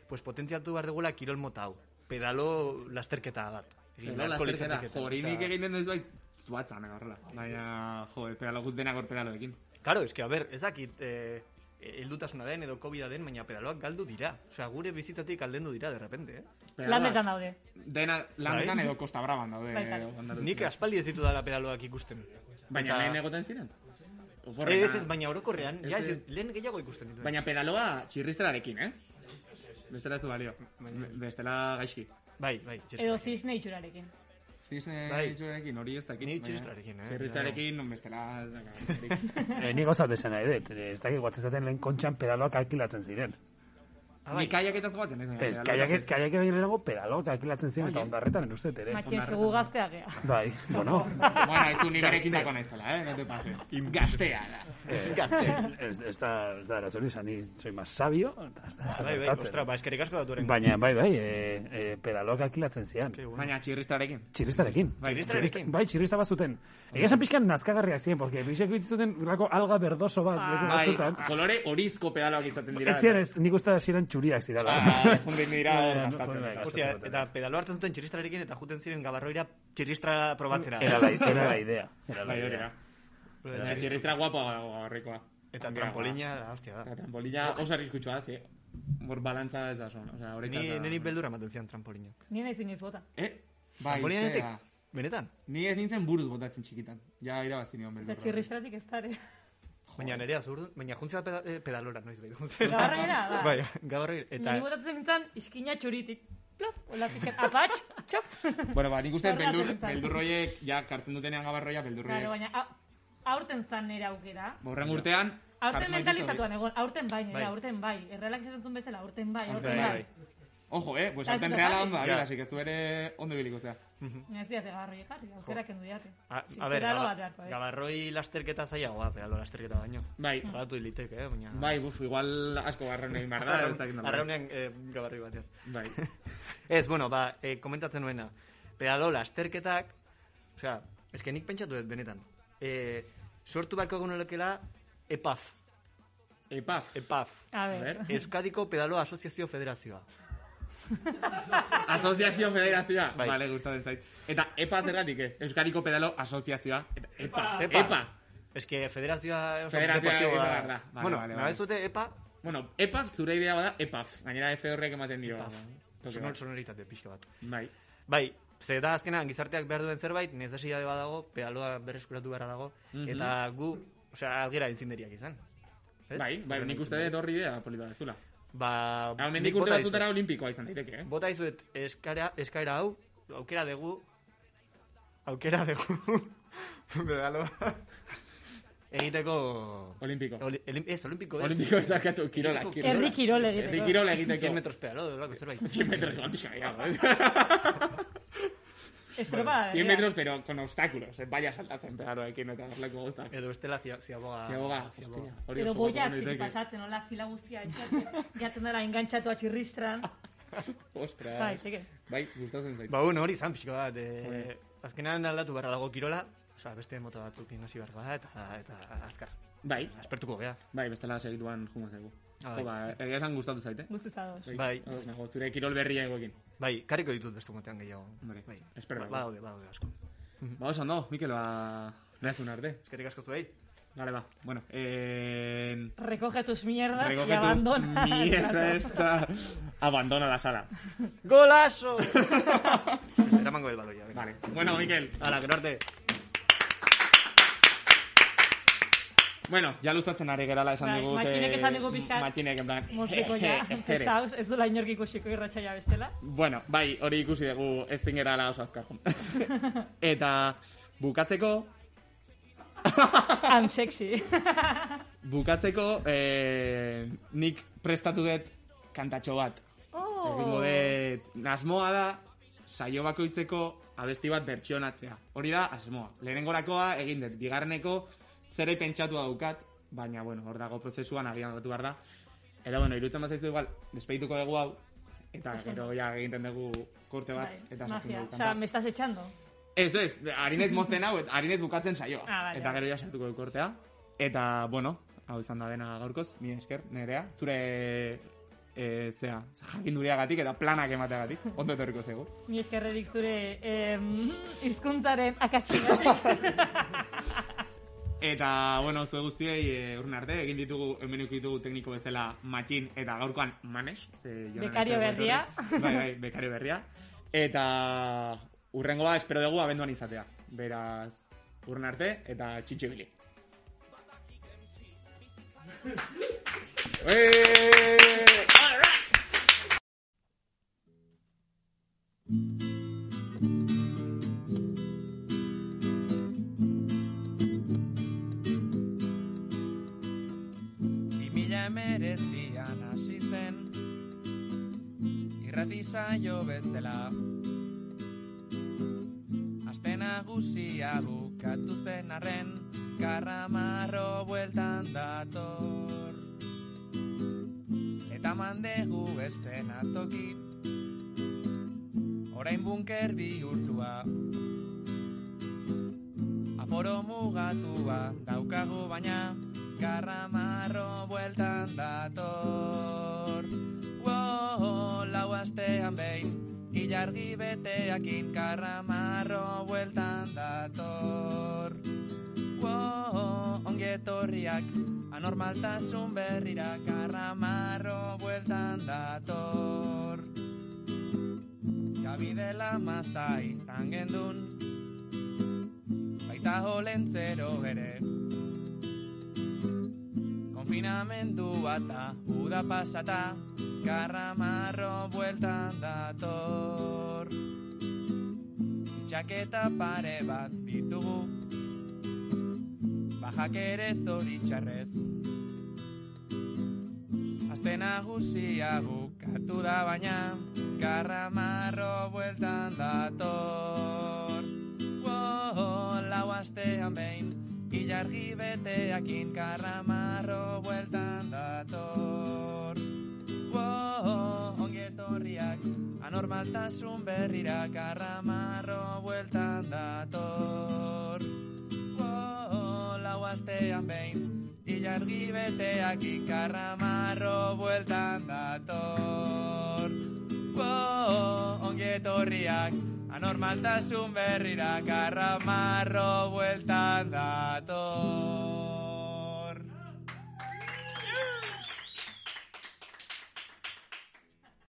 Speaker 8: pues, potentziatu behar dugula kirol mota hau. Pedalo lasterketa bat. Egin
Speaker 2: Pedalo
Speaker 8: beharko
Speaker 2: lasterketa,
Speaker 8: litzateketen,
Speaker 2: jo, hori
Speaker 8: osea-
Speaker 2: nik egiten dut zuait zuatzan, eh, horrela. Baina, jo, pedalo gut denak hor pedaloekin.
Speaker 8: Claro, es que, a ber, ez dakit eh, eldutasuna den edo COVID den, baina pedaloak galdu dira. Osea, gure bizitatik aldendu dira, de repente, eh?
Speaker 2: Pedaloak
Speaker 3: Lanetan daude.
Speaker 2: Dena, lanetan
Speaker 8: Bai.
Speaker 2: edo Costa Braban daude.
Speaker 3: Bai, bai.
Speaker 2: Andaluzian.
Speaker 8: Nik aspaldi ez ditu dala pedaloak ikusten.
Speaker 2: Baina
Speaker 8: Eta-
Speaker 2: lehen egoten ziren? Oforrena-
Speaker 8: Ez ez, baina orokorrean,
Speaker 2: Ez
Speaker 8: ja, ez,
Speaker 2: ez.
Speaker 8: lehen gehiago ikusten ditu.
Speaker 2: Baina pedaloa txirristerarekin, eh? Bestela ez du balio. Be- Bestela gaizki.
Speaker 8: Bai, bai,
Speaker 3: Edo
Speaker 8: txestra.
Speaker 3: zisne itxurarekin.
Speaker 2: Zizne
Speaker 8: Bai.
Speaker 2: txirristerarekin, hori ez dakit.
Speaker 8: Ni
Speaker 2: baina-
Speaker 8: txirristerarekin, eh?
Speaker 2: Txirristerarekin, non bestela...
Speaker 7: Eh, ni gozat esan nahi dut. Eh, Ez dakit guatzezaten lehen kontxan pedaloak alkilatzen ziren.
Speaker 2: Ni kaiaketaz joaten ez.
Speaker 7: Ez, kaiak, kaiak egin lehenago pedalota akilatzen ziren eta
Speaker 2: Bai, eh.
Speaker 7: ondarretan eruztet ere.
Speaker 3: Matxin segu gaztea gea.
Speaker 7: Bai, bueno,
Speaker 2: Bueno, ez du nirekin dako naizela, eh? No te pases. Gaztea da.
Speaker 7: eh, ez, ez da, ez da erazun izan, ni soy más sabio, eta ez da, ez da
Speaker 8: Bai, bai,
Speaker 7: gertatzen.
Speaker 8: ostra, ba, eskerrik asko daturen.
Speaker 7: Baina, bai, bai, e, e, pedalok akilatzen zian.
Speaker 2: Baina txirristarekin.
Speaker 7: Txiristarekin.
Speaker 2: Bai,
Speaker 7: Txirrista-
Speaker 8: txirristarekin.
Speaker 7: bai, txirrista bat zuten. Egia esan pixkan nazkagarriak ziren, porque pixek zuten lako alga berdoso bat leku
Speaker 2: Bai,
Speaker 7: batzutan.
Speaker 2: kolore horizko pedaloak izaten dira.
Speaker 7: Ez ziren, ez, nik uste ziren txuriak zirala.
Speaker 2: Ah, jundin dira,
Speaker 7: Bai, bai, bai,
Speaker 2: gastatzen.
Speaker 7: gastatzen
Speaker 8: Hostia,
Speaker 7: duten.
Speaker 8: eta pedalo hartzen zuten txirristrarekin eta juten ziren gabarroira txirristra probatzera.
Speaker 7: Era la, era la idea. Era la
Speaker 2: Bai, hori
Speaker 7: idea.
Speaker 2: da. Baina txirristra guapa horrekoa.
Speaker 8: Eta trampolina, la hostia da.
Speaker 2: Eta trampolina oso arriskutsua hazi. Bor balantza ez da son. O sea, horretan.
Speaker 8: Ni,
Speaker 2: da-
Speaker 8: niri beldura ematen zian trampolina.
Speaker 3: Ni nahi zinez bota.
Speaker 2: Eh? Bai,
Speaker 8: Trampolina
Speaker 2: zera.
Speaker 8: ditek? Benetan?
Speaker 2: Ni ez nintzen buruz botatzen txikitan. Ja, irabazi nion
Speaker 3: Eta
Speaker 2: beldurra.
Speaker 3: txirristratik ez dare.
Speaker 8: Baina nerea zurdu, baina juntzea peda, eh, pedalora noiz behi.
Speaker 3: Gabarroira, da.
Speaker 8: Bai, gabarroira. Eta
Speaker 3: Niri botatzen mintzan, iskina txuritik. Plof, hola pixet, apatx, txop.
Speaker 2: Bueno, ba, nik uste
Speaker 3: Horra
Speaker 2: beldur,
Speaker 3: zentzan.
Speaker 2: beldurroiek, ja, kartzen dutenean gabarroia, beldurroiek.
Speaker 3: Claro, baina a- aurten zan nera aukera.
Speaker 2: Horren urtean...
Speaker 3: Aurten
Speaker 2: jartzen gaituzte
Speaker 3: mentalizatuan egon, aurten bai, nera,
Speaker 8: Bai.
Speaker 3: aurten bai. Errealak esaten zuen bezala, aurten bai,
Speaker 8: Aurten
Speaker 3: aurten
Speaker 8: bai,
Speaker 3: bai.
Speaker 2: hori. Ojo, eh? Pues
Speaker 3: Eta ez
Speaker 2: aurten
Speaker 3: dut
Speaker 2: reala
Speaker 3: jarri.
Speaker 2: ondo
Speaker 8: Ja.
Speaker 2: ari, así que zu ere ondo ibiliko zea.
Speaker 3: Ez diate gabarroi jarri, aukerak kendu diate.
Speaker 8: A,
Speaker 3: Sí,
Speaker 8: a ber,
Speaker 3: pedalo
Speaker 8: gaba-
Speaker 3: bat beharko, eh. Mm.
Speaker 8: gabarroi lasterketa zailagoa, pedalo lasterketa baino.
Speaker 2: Bai,
Speaker 8: Horatu diliteke, eh, baina...
Speaker 2: bai, buf, igual asko garran egin behar da. bai. ez dakit nola.
Speaker 8: Arraunean eh, gabarroi batean.
Speaker 2: Bai.
Speaker 8: Ez, bueno, ba, eh, komentatzen nuena. Pedalo lasterketak, osea, eske nik pentsatu dut benetan. Eh, sortu beharko E egunelokela EPAF.
Speaker 2: Epaf.
Speaker 8: EPAF.
Speaker 3: A
Speaker 2: E A
Speaker 3: ber,
Speaker 2: ber.
Speaker 8: Ah. Euskadiko Pedalo Asoziazio Federazioa.
Speaker 2: Asoziazio Federazioa.
Speaker 8: Bai.
Speaker 2: Vale, gustatzen zait. Eta EPA zergatik ez. Euskadiko Pedalo Asoziazioa. Eta EPA. EPA.
Speaker 8: Ez que federazioa oso
Speaker 2: Federazioa
Speaker 8: deportiboa
Speaker 2: ez
Speaker 8: da.
Speaker 2: da garra. Vale,
Speaker 8: bueno,
Speaker 2: vale,
Speaker 8: nahi
Speaker 2: vale.
Speaker 8: zute E EPA,
Speaker 2: Bueno, EPAF zure idea bada EPAF. Gainera F horrek ematen dio.
Speaker 8: EPAF.
Speaker 2: Toke
Speaker 8: sonor,
Speaker 2: bat.
Speaker 8: sonoritate pixka bat.
Speaker 2: Bai.
Speaker 8: Bai, ze da azkenan gizarteak behar duen zerbait, necesidade badago, pedaloa berreskuratu behar dago,
Speaker 2: Mhm.
Speaker 8: eta gu, osea, algera intzinderiak izan. Ez?
Speaker 2: Bai, bai, nik uste dut Bai, horri idea polita dezula.
Speaker 8: Ba,
Speaker 2: Hau,
Speaker 8: nik
Speaker 2: mendik urte
Speaker 8: bota
Speaker 2: batzutara
Speaker 8: dizuet.
Speaker 2: olimpikoa izan daiteke, eh?
Speaker 8: Bota izuet eskaera, eskaera hau, aukera dugu, aukera dugu, pedaloa, egiteko...
Speaker 2: Olimpiko.
Speaker 8: Oli, elim- ez, olimpiko ez.
Speaker 2: Olimpiko ez dakatu, kirola.
Speaker 8: Herri
Speaker 3: Herri kirol
Speaker 2: Herri
Speaker 3: egiteko.
Speaker 2: kirola
Speaker 8: 100
Speaker 2: egiteko.
Speaker 8: metros pedalo, delako zerbait.
Speaker 2: 100 metros, igual pixka gehiago, eh?
Speaker 3: Estropada.
Speaker 2: 100 metros, pero con obstáculos. Eh? Vaya saltatzen pedaloekin eta horrelako gauzak.
Speaker 8: Edo bestela zia- ziaboga.
Speaker 2: Ziaboga, hostia. hori
Speaker 3: Edo
Speaker 2: oso
Speaker 3: boia
Speaker 2: gogorra
Speaker 3: azkiti
Speaker 2: daiteke.
Speaker 3: pasatzen, hola, fila guztia etxatzen, jaten dara engantzatu atxirristran.
Speaker 2: Ostras.
Speaker 3: Bai, teke.
Speaker 2: Bai, gustatzen zait.
Speaker 8: Ba, bueno, hori izan pixka bat. E, azkenan aldatu beharra dago kirola, osea, beste mota batzukin hasi behar da, eta, eta azkar.
Speaker 2: Bai,
Speaker 8: Aspertuko gea.
Speaker 2: bai, bestela segituan jungo zaigu.
Speaker 8: Ah,
Speaker 2: Jo, ba, egia esan gustatu zait, eh?
Speaker 3: Guztiz ados.
Speaker 8: Bai.
Speaker 2: Ados nago, zure kirol berria egoekin.
Speaker 8: Bai, kariko ditut beste motean gehiago.
Speaker 2: Hombre,
Speaker 8: bai.
Speaker 2: espero
Speaker 8: Ba,
Speaker 2: dago.
Speaker 8: badaude, badaude asko.
Speaker 2: Ba, oso ondo, Mikel, ba... Nahezun arte.
Speaker 8: Eskerrik asko zuei.
Speaker 2: Vale, ba. Bueno, eh...
Speaker 3: Recoge tus mierdas y
Speaker 2: Recoge tu
Speaker 3: abandona.
Speaker 2: mierda esta. Abandona la sala.
Speaker 8: Golazo! Eramango el baloia, venga.
Speaker 2: Vale. Bueno, Mikel.
Speaker 8: Hala, gero arte.
Speaker 2: Bueno, ja luzatzen ari gerala esan
Speaker 3: Bai,
Speaker 2: dugu.
Speaker 3: matxinek
Speaker 2: que-
Speaker 3: esan digu pixkat.
Speaker 2: Matxinek, en plan...
Speaker 3: Mozteko ja,
Speaker 2: jere.
Speaker 3: pesaos, ez du la inork ikusiko irratxaila bestela.
Speaker 2: Bueno, bai, hori ikusi dugu ez zingerala oso azkar jun. Eta bukatzeko,
Speaker 3: Unsexy.
Speaker 2: bukatzeko, eh, nik prestatu dut kantatxo bat. Egingo
Speaker 3: oh,
Speaker 2: dut, asmoa da, saio bakoitzeko abesti bat bertsionatzea. Hori da, asmoa. Lehenengorakoa egin dut, bigarreneko zerai pentsatua daukat, baina, bueno, hor dago prozesuan agian aldatu behar da. Eta, bueno, irutzen bat zaizu igual, despeituko dugu hau, eta gero ja egiten dugu korte bat,
Speaker 3: bai,
Speaker 2: eta sartzen
Speaker 3: magia.
Speaker 2: dugu
Speaker 3: O
Speaker 2: kanta.
Speaker 3: sea, me estás echando.
Speaker 2: Ez, ez, harinez mozten hau, harinez bukatzen saioa.
Speaker 3: Ah, vale,
Speaker 2: eta
Speaker 3: vale.
Speaker 2: gero ja sartuko dut kortea. Eta, bueno, hau izan da dena gaurkoz, mi esker, nerea. Zure, e, zea, jakindureagatik eta planak emateagatik. Ondo etorriko zego.
Speaker 3: Ni eskerrerik zure em, hizkuntzaren akatxinatik.
Speaker 2: Eta, bueno, zue guztiei e, urren arte, egin ditugu, hemen eduki ditugu tekniko bezala matxin eta gaurkoan manes. Ze, Jonan
Speaker 3: Bekario
Speaker 2: ez dago
Speaker 3: berria.
Speaker 2: etorri. Bai, bai, bekario berria. Eta urrengoa espero dugu abenduan izatea. Beraz, urren arte eta txitxibili. Hey!
Speaker 9: Bi mila emeretzian hasi zen irrati saio bezala Aste nagusia bukatu zen arren Karramarro bueltan dator Eta mandegu estenatoki Orain bunker bihurtua Aforo mugatua daukagu baina Garramarro bueltan dator Wow, lau astean behin Ilargi beteakin karramarro bueltan dator Wow, ongetorriak Anormaltasun berrira karramarro bueltan dator Gabidela maza izan gendun baita olentzero ere. Konfinamendua eta uda pasata, karramarro bueltan dator. Txaketa pare bat ditugu, bajak ere zoritxarrez. Aste nagusia bukatu da baina, karramarro bueltan dator. Wow, lau astean behin Ilargi beteakin karramarro bueltan dator Wow, ongetorriak Anormaltasun berrira karramarro bueltan dator Wow, lau astean behin Ilargi beteakin karramarro bueltan dator Wow, ongetorriak anormaltasun berrira karramarro bueltan dator.